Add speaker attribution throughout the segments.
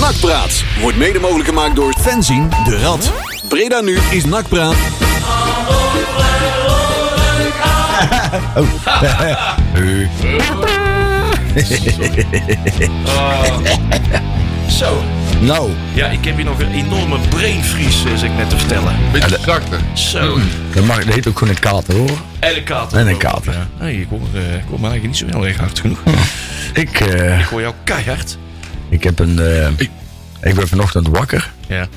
Speaker 1: Nakpraat wordt mede mogelijk gemaakt door Fenzin de Rad. Breda nu is Nakpraat.
Speaker 2: Zo.
Speaker 3: Nou,
Speaker 2: Ja, ik heb hier nog een enorme brainvries, eh, zit ik net te vertellen.
Speaker 4: Beetje zachter.
Speaker 2: Zo.
Speaker 3: dat, mag, dat heet ook gewoon een kater hoor.
Speaker 2: En een kater.
Speaker 3: En een kater.
Speaker 2: Ja. Hey, ik, hoor, eh, ik hoor me eigenlijk niet zo heel erg hard genoeg.
Speaker 3: Ik, eh,
Speaker 2: Ik hoor jou keihard.
Speaker 3: ik heb een. eh, ik ben vanochtend wakker.
Speaker 2: Ja.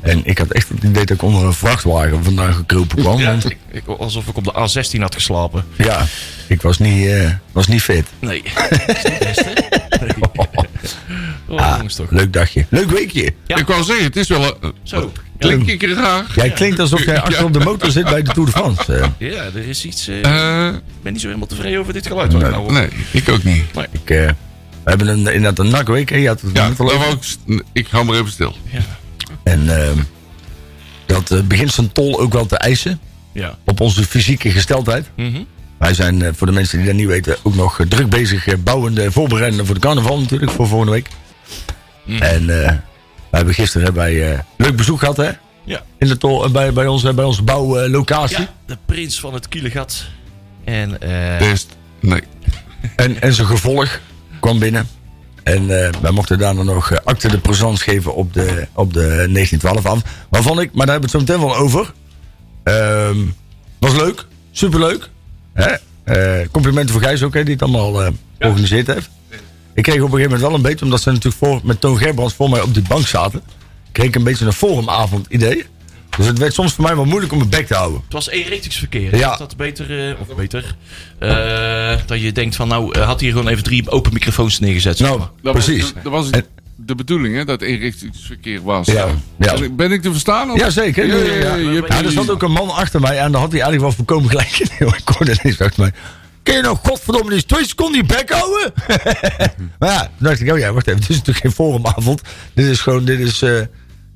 Speaker 3: En ik had echt het idee dat ik onder een vrachtwagen vandaan gekropen kwam.
Speaker 2: ja
Speaker 3: want-
Speaker 2: ik, ik- alsof ik op de A16 had geslapen.
Speaker 3: ja ik was niet, eh, was niet fit.
Speaker 2: Nee. Dat is niet best, hè? Nee. Oh, jongens toch.
Speaker 3: Leuk dagje. Leuk weekje.
Speaker 2: Ja.
Speaker 4: Ik wou zeggen, het is wel een...
Speaker 2: Zo.
Speaker 4: Klink ik er graag?
Speaker 3: Jij klinkt alsof jij achter op de motor zit bij de Tour de France. eh.
Speaker 2: Ja, er is iets... eh,
Speaker 4: Eh,
Speaker 2: ik ben niet zo helemaal tevreden over dit geluid. wat ik nou hoor.
Speaker 4: nee, ik ook niet.
Speaker 3: ik, eh, we hebben een, inderdaad een nakweek. hè, Je had het
Speaker 4: Ja,
Speaker 3: net al
Speaker 4: dan
Speaker 3: over.
Speaker 4: wou ik, st- ik hou maar even stil.
Speaker 3: En ehm, dat eh, begint zijn tol ook wel te eisen
Speaker 2: Ja.
Speaker 3: op onze fysieke gesteldheid.
Speaker 2: Mhm.
Speaker 3: Wij zijn, eh, voor de mensen die dat niet weten, ook nog eh, druk bezig eh, bouwende, voorbereidende voor de carnaval natuurlijk, voor volgende week.
Speaker 2: Mhm.
Speaker 3: En eh, we hebben gisteren hebben wij eh, leuk bezoek gehad, hè?
Speaker 2: Ja.
Speaker 3: In de tol, eh, bij, bij, ons, eh, bij onze bouwlocatie.
Speaker 2: ja. De prins van het kielengat. En... eh,
Speaker 4: Best. Nee.
Speaker 3: En, en zijn gevolg kwam binnen. En eh, wij mochten daarna nog eh, acte de présence geven op de, op de 1912 af. Waarvan ik, maar daar hebben we het zo meteen wel over. Ehm, was leuk. Superleuk. Hè? Eh, complimenten voor Gijs ook, hè, die het allemaal eh, georganiseerd heeft. Ik kreeg op een gegeven moment wel een beetje, omdat ze natuurlijk voor, met Toon Gerbrands voor mij op die bank zaten. Kreeg ik een beetje een forumavond idee. Dus het werd soms voor mij wel moeilijk om mijn bek te houden.
Speaker 2: Het was E-ratingsverkeer.
Speaker 3: Ja.
Speaker 2: Ja. Dat beter, eh, of beter, eh, dat je denkt van nou, eh, had hier gewoon even drie open microfoons neergezet.
Speaker 3: Nou,
Speaker 4: Dat
Speaker 3: precies.
Speaker 4: Was, dat was
Speaker 3: En-
Speaker 4: de bedoeling, hè, dat inrichtingsverkeer was.
Speaker 3: Ja, ja.
Speaker 4: Ben ik- Ben ik te verstaan? Of?
Speaker 3: Ja, zeker.
Speaker 4: Oh. Ja,
Speaker 3: Ja,
Speaker 4: ja, ja, je hebt-
Speaker 3: Ja, er zat ook een man achter mij en daar had hij eigenlijk wel voorkomen gelijk. in. ik hoorde ineens achter mij. Kun je nou godverdomme eens twee seconden je bek houden? maar ja, toen dacht ik, oh ja, wacht even. Dit is natuurlijk geen forumavond. Dit is gewoon, dit is, eh,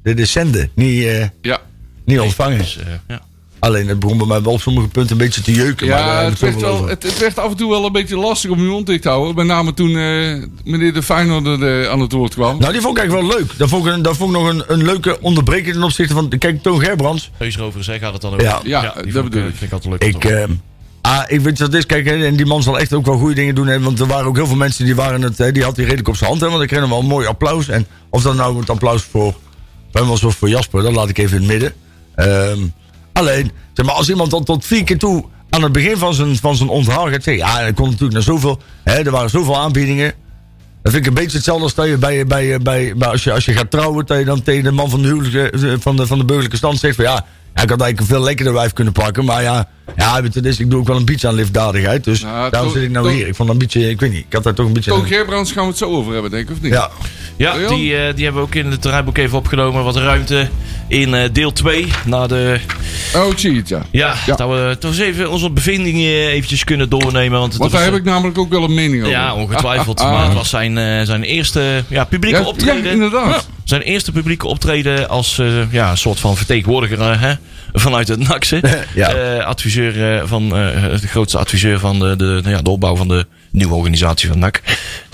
Speaker 3: dit is zenden. Niet, eh,
Speaker 4: Ja,
Speaker 3: niet ontvangen.
Speaker 2: Dus, eh, ja.
Speaker 3: Alleen het begon bij mij wel op sommige punten een beetje te jeuken. maar daar
Speaker 4: ja
Speaker 3: hebben
Speaker 4: het,
Speaker 3: we
Speaker 4: werd
Speaker 3: het, toch wel
Speaker 4: wel,
Speaker 3: over.
Speaker 4: het, het werd af en toe wel een beetje lastig om je mond dicht te houden. Met name toen eh, meneer de Feyenoorder eh, aan het woord kwam.
Speaker 3: Nou, die vond ik eigenlijk wel leuk. Dat vond ik, een- dat vond ik nog een, een leuke onderbreking ten opzichte van... Kijk, Toon Gerbrands.
Speaker 2: Heus erover zeg, gaat het dan ook.
Speaker 3: Ja.
Speaker 4: Ja, dat
Speaker 2: vond ik,
Speaker 4: bedoel
Speaker 2: eh,
Speaker 4: ik.
Speaker 2: Vind ik altijd leuk.
Speaker 3: Ik,
Speaker 2: toch?
Speaker 3: eh, ah, ik weet dat is. Kijk, hè, en die man zal echt ook wel goede dingen doen. Hè, want er waren ook heel veel mensen die waren het. Hè, die had hij redelijk op zijn hand. Hè, want ik kreeg hem wel een mooi applaus. En of dat nou het applaus voor hem was of voor Jasper, dat laat ik even in het midden. Ehm, alleen, zeg maar, als iemand dan tot vier keer toe aan het begin van zijn, van zijn onthaal gaat zeggen. Ja, er kon natuurlijk naar zoveel. Hè, er waren zoveel aanbiedingen. Dat vind ik een beetje hetzelfde als dat je bij, bij, bij, bij als, je, als je gaat trouwen, dat je dan tegen de man van de, huwelijke, eh, van de, van de burgerlijke stand zegt van ja, ja, ik had eigenlijk een veel lekkerder wijf kunnen pakken, maar ja, ja weet je, het is, ik doe ook wel een beetje aan liefdadigheid, dus
Speaker 4: Nou,
Speaker 3: daarom
Speaker 4: toch-
Speaker 3: zit ik nou
Speaker 4: toch-
Speaker 3: hier. Ik vond dat een beetje, ik weet niet, ik had daar toch een beetje...
Speaker 4: Toon Gerbrands gaan we het zo over hebben, denk ik, of niet?
Speaker 3: ja,
Speaker 2: ja, die,
Speaker 4: Leon?
Speaker 2: eh, die hebben we ook in het draaiboek even opgenomen. Wat ruimte in eh, deel 2. Na de,
Speaker 4: Oh, cheat, ja.
Speaker 2: ja,
Speaker 4: Ja.
Speaker 2: dat we toch eens even onze bevindingen eh, eventjes kunnen doornemen. Want, het
Speaker 4: Want
Speaker 2: was,
Speaker 4: daar heb ik namelijk ook wel een mening over.
Speaker 2: Ja, ongetwijfeld.
Speaker 4: Ah, ah,
Speaker 2: Maar
Speaker 4: ah.
Speaker 2: het was zijn, eh, zijn eerste ja, publieke
Speaker 4: Ja,
Speaker 2: optreden.
Speaker 4: ja, inderdaad.
Speaker 2: Zijn eerste publieke optreden als eh, ja, een soort van vertegenwoordiger eh, hè, vanuit het NAXE.
Speaker 3: Ja.
Speaker 2: adviseur eh, van eh, de grootste adviseur van de, de, nou ja, de opbouw van de nieuwe organisatie van NAC.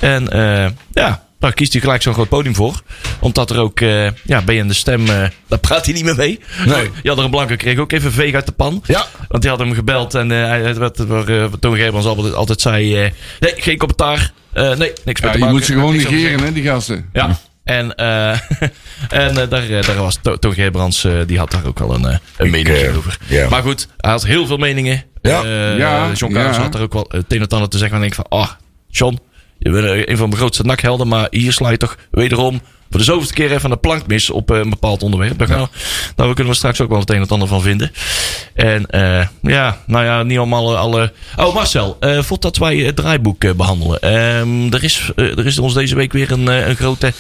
Speaker 2: En eh, ja, daar kiest hij gelijk zo'n groot podium voor. Omdat er ook, eh, ja, ben je in de stem, eh, daar praat hij niet meer mee.
Speaker 3: Nee.
Speaker 2: Jan de Blanke kreeg ook even een veeg uit de pan.
Speaker 3: Ja.
Speaker 2: Want die had hem gebeld en eh, hij- het werd, waar, eh, Toon Gerbrands altijd, altijd zei, eh, nee, geen commentaar. Eh, nee, niks
Speaker 4: Ja,
Speaker 2: met te
Speaker 4: je
Speaker 2: maken.
Speaker 4: moet ze gewoon
Speaker 2: Niks over
Speaker 4: negeren, hè, die gasten.
Speaker 2: ja. En, eh, en eh, daar, eh, daar was To- Toon Gerbrands, eh, die had daar ook wel een, eh, een mening
Speaker 3: eh,
Speaker 2: over.
Speaker 3: ja.
Speaker 2: Maar goed, hij had heel veel meningen.
Speaker 3: Ja.
Speaker 2: Eh,
Speaker 4: Ja,
Speaker 2: John Carlos
Speaker 4: ja.
Speaker 2: had er ook wel eh, het een en ander te zeggen. En ik van, ah, John, je bent eh, een van mijn grootste nakhelden. Maar hier sla je toch wederom voor de zoveelste keer even aan de plank mis op eh, een bepaald onderwerp. Daar, gaan we, daar kunnen we straks ook wel het een en ander van vinden. En eh, ja, nou ja, niet allemaal alle... Oh, Marcel, eh voordat wij het draaiboek eh, behandelen. ehm, er, is, eh, er is ons deze week weer een, eh, een grote...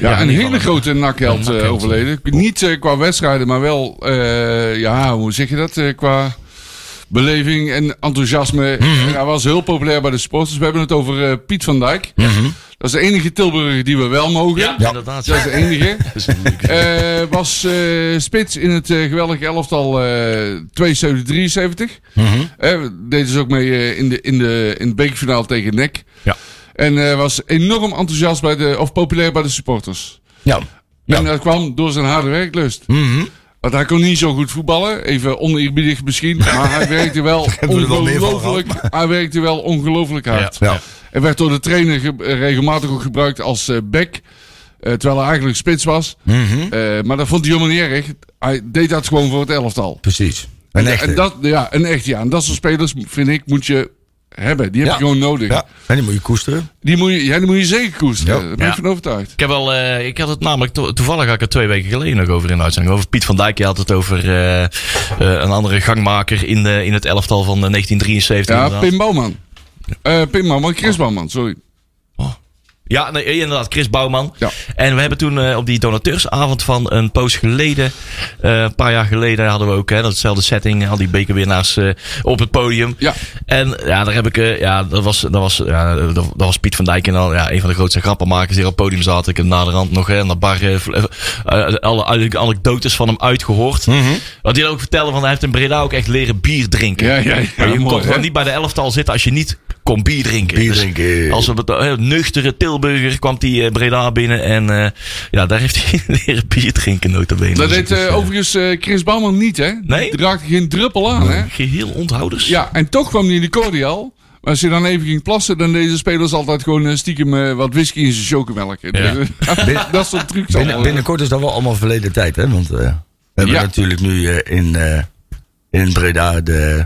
Speaker 4: Ja,
Speaker 2: in
Speaker 4: een
Speaker 2: ieder
Speaker 4: hele
Speaker 2: geval-
Speaker 4: grote nakheld
Speaker 2: Een nakheld.
Speaker 4: overleden. Niet eh, qua wedstrijden, maar wel, eh, ja, hoe zeg je dat? Eh, qua beleving en enthousiasme. En Hij was heel populair bij de sporters. We hebben het over eh, Piet van Dijk. Dat is de enige Tilburger die we wel mogen.
Speaker 2: Ja,
Speaker 3: Ja.
Speaker 2: inderdaad.
Speaker 4: Dat is de enige.
Speaker 2: Dat is moeilijk.
Speaker 4: Eh, was eh, spits in het eh, geweldige elftal eh 72-73.
Speaker 2: Mhm.
Speaker 4: Eh, deed dus ook mee eh, in, de, in, de, in het bekerfinaal tegen E NEC.
Speaker 2: Ja.
Speaker 4: En eh, was enorm enthousiast bij de, of populair bij de supporters.
Speaker 3: Ja. Mhm.
Speaker 4: En dat kwam door zijn harde werklust. Want hij kon niet zo goed voetballen. Even oneerbiedig misschien. Maar hij werkte wel
Speaker 3: we er wel meer van
Speaker 4: ongelooflijk. Hij werkte wel ongelooflijk hard.
Speaker 3: Ja. Ja.
Speaker 4: En werd door de trainer ge- eh, regelmatig ook gebruikt als eh back. eh, terwijl hij eigenlijk spits was.
Speaker 3: Mhm.
Speaker 4: Eh, maar dat vond hij helemaal niet erg. Hij deed dat gewoon voor het elftal.
Speaker 3: Precies. Een echte.
Speaker 4: En dat, ja, een echt ja. En dat soort spelers, vind ik, moet je hebben. Die heb
Speaker 3: Ja.
Speaker 4: je gewoon nodig.
Speaker 3: Ja. En die moet je koesteren.
Speaker 4: Die, moet je, ja, die moet je zeker koesteren.
Speaker 3: Ja.
Speaker 4: Daar ben ik
Speaker 2: Ja.
Speaker 4: van overtuigd.
Speaker 2: Ik, heb wel, eh, ik had het namelijk, to- toevallig had ik het twee weken geleden nog over in de uitzending. Over Piet van Dijk. Je had het over eh, eh, een andere gangmaker in, de, in het elftal van eh, 1973.
Speaker 4: Ja,
Speaker 2: inderdaad.
Speaker 4: Pim Bouwman. Eh, Pim Bouwman,
Speaker 3: Oh.
Speaker 4: Chris Bouwman, sorry.
Speaker 2: Ja, nee, inderdaad, Chris Bouwman.
Speaker 4: Ja.
Speaker 2: En we hebben toen eh, op die donateursavond van een poos geleden, eh, een paar jaar geleden, hadden we ook hè, datzelfde setting, al die bekerwinnaars eh, op het podium.
Speaker 4: Ja.
Speaker 2: En ja, daar heb ik, eh, ja, dat was, dat was, ja, dat, dat was Piet van Dijk en al, ja, een van de grootste grappenmakers die er op het podium zaten. Ik heb naderhand nog hè, aan de bar eh, vl- eh, eh, alle alle anekdotes van hem uitgehoord.
Speaker 4: Mhm.
Speaker 2: Wat hij dan ook vertelde, van hij heeft in Breda ook echt leren bier drinken.
Speaker 4: Ja, ja, ja,
Speaker 2: Maar je
Speaker 4: mooi,
Speaker 2: kon
Speaker 4: hè?
Speaker 2: gewoon niet bij de elftal zitten als je niet kon bier drinken.
Speaker 3: Bier
Speaker 2: Dus
Speaker 3: drinken.
Speaker 2: als op het eh, nuchtere Tilburger kwam die eh, Breda binnen. En eh, ja, daar heeft hij leren bier drinken notabene. Dus
Speaker 4: Dat deed
Speaker 2: het is,
Speaker 4: eh,
Speaker 2: eh,
Speaker 4: overigens eh, Chris Bouwman niet, hè?
Speaker 2: Nee?
Speaker 4: Die raakte geen druppel aan, hè?
Speaker 2: Geheel onthouders.
Speaker 4: Ja, en toch kwam hij in de cordial. Maar als je dan even ging plassen, dan deden spelers altijd gewoon eh, stiekem eh, wat whisky in zijn chocomelk. Dus, eh, dat soort trucs
Speaker 3: Binnen,
Speaker 4: allemaal.
Speaker 3: binnenkort is dat wel allemaal verleden tijd, hè? Want eh, we hebben
Speaker 4: eh, Ja.
Speaker 3: natuurlijk nu eh, in, eh, in Breda de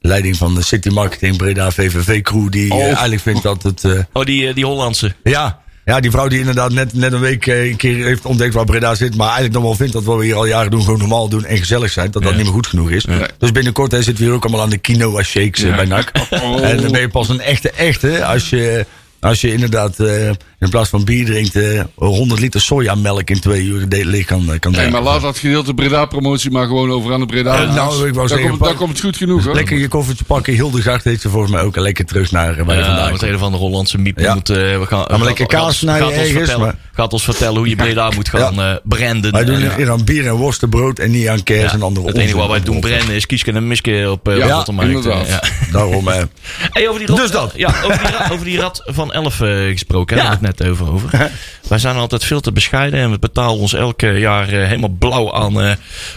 Speaker 3: leiding van de City Marketing Breda VVV crew die eh,
Speaker 4: Oh.
Speaker 3: eigenlijk vindt dat het eh,
Speaker 2: Oh, die, eh, die Hollandse.
Speaker 3: ja ja die vrouw die inderdaad net, net een week eh, een keer heeft ontdekt waar Breda zit, maar eigenlijk nog wel vindt dat wat we hier al jaren doen gewoon normaal doen en gezellig zijn, dat dat niet meer goed genoeg is. Dus binnenkort eh, zitten we hier ook allemaal aan de quinoa shakes eh, bij NAC.
Speaker 4: Oh.
Speaker 3: En dan ben je pas een echte echte als je, als je inderdaad eh, in plaats van bier drinkt eh 100 liter sojamelk in twee uur de- leeg kan, eh, kan
Speaker 4: Nee,
Speaker 3: drinken.
Speaker 4: maar laat dat gedeelte Breda-promotie maar gewoon over aan de Breda.
Speaker 3: Eh, nou, ik wou
Speaker 4: daar
Speaker 3: zeggen,
Speaker 4: komt, daar
Speaker 3: pak-
Speaker 4: komt het goed genoeg, hoor.
Speaker 3: Lekker je koffertje pakken. Hildegard heeft ze volgens mij ook. En lekker terug naar eh, waar je
Speaker 2: Ja,
Speaker 3: vandaan
Speaker 2: met
Speaker 3: komt.
Speaker 2: een van de Hollandse miep.
Speaker 3: Ja.
Speaker 2: Moet, eh, we gaan,
Speaker 3: maar lekker kaas snijden
Speaker 2: gaat ons,
Speaker 3: ergens,
Speaker 2: vertellen,
Speaker 3: maar-
Speaker 2: gaat ons vertellen hoe je Breda moet gaan eh, branden.
Speaker 3: Wij doen
Speaker 2: En,
Speaker 3: het
Speaker 2: ja.
Speaker 3: hier aan bier en worstenbrood en niet aan kers en andere
Speaker 2: het enige wat
Speaker 3: onzin.
Speaker 2: wij doen branden is kiesken en misken op eh
Speaker 4: Ja,
Speaker 2: Rottermarkt.
Speaker 4: inderdaad.
Speaker 2: Ja.
Speaker 3: Daarom, eh,
Speaker 2: Hey, over die rat,
Speaker 3: Dus dat.
Speaker 2: Ja, over die, ra- over die rat van 11 eh, gesproken. Hè,
Speaker 3: Ja.
Speaker 2: Daar hadden we het net over. over. Wij zijn altijd veel te bescheiden. En we betalen ons elk eh, jaar eh, helemaal blauw aan eh,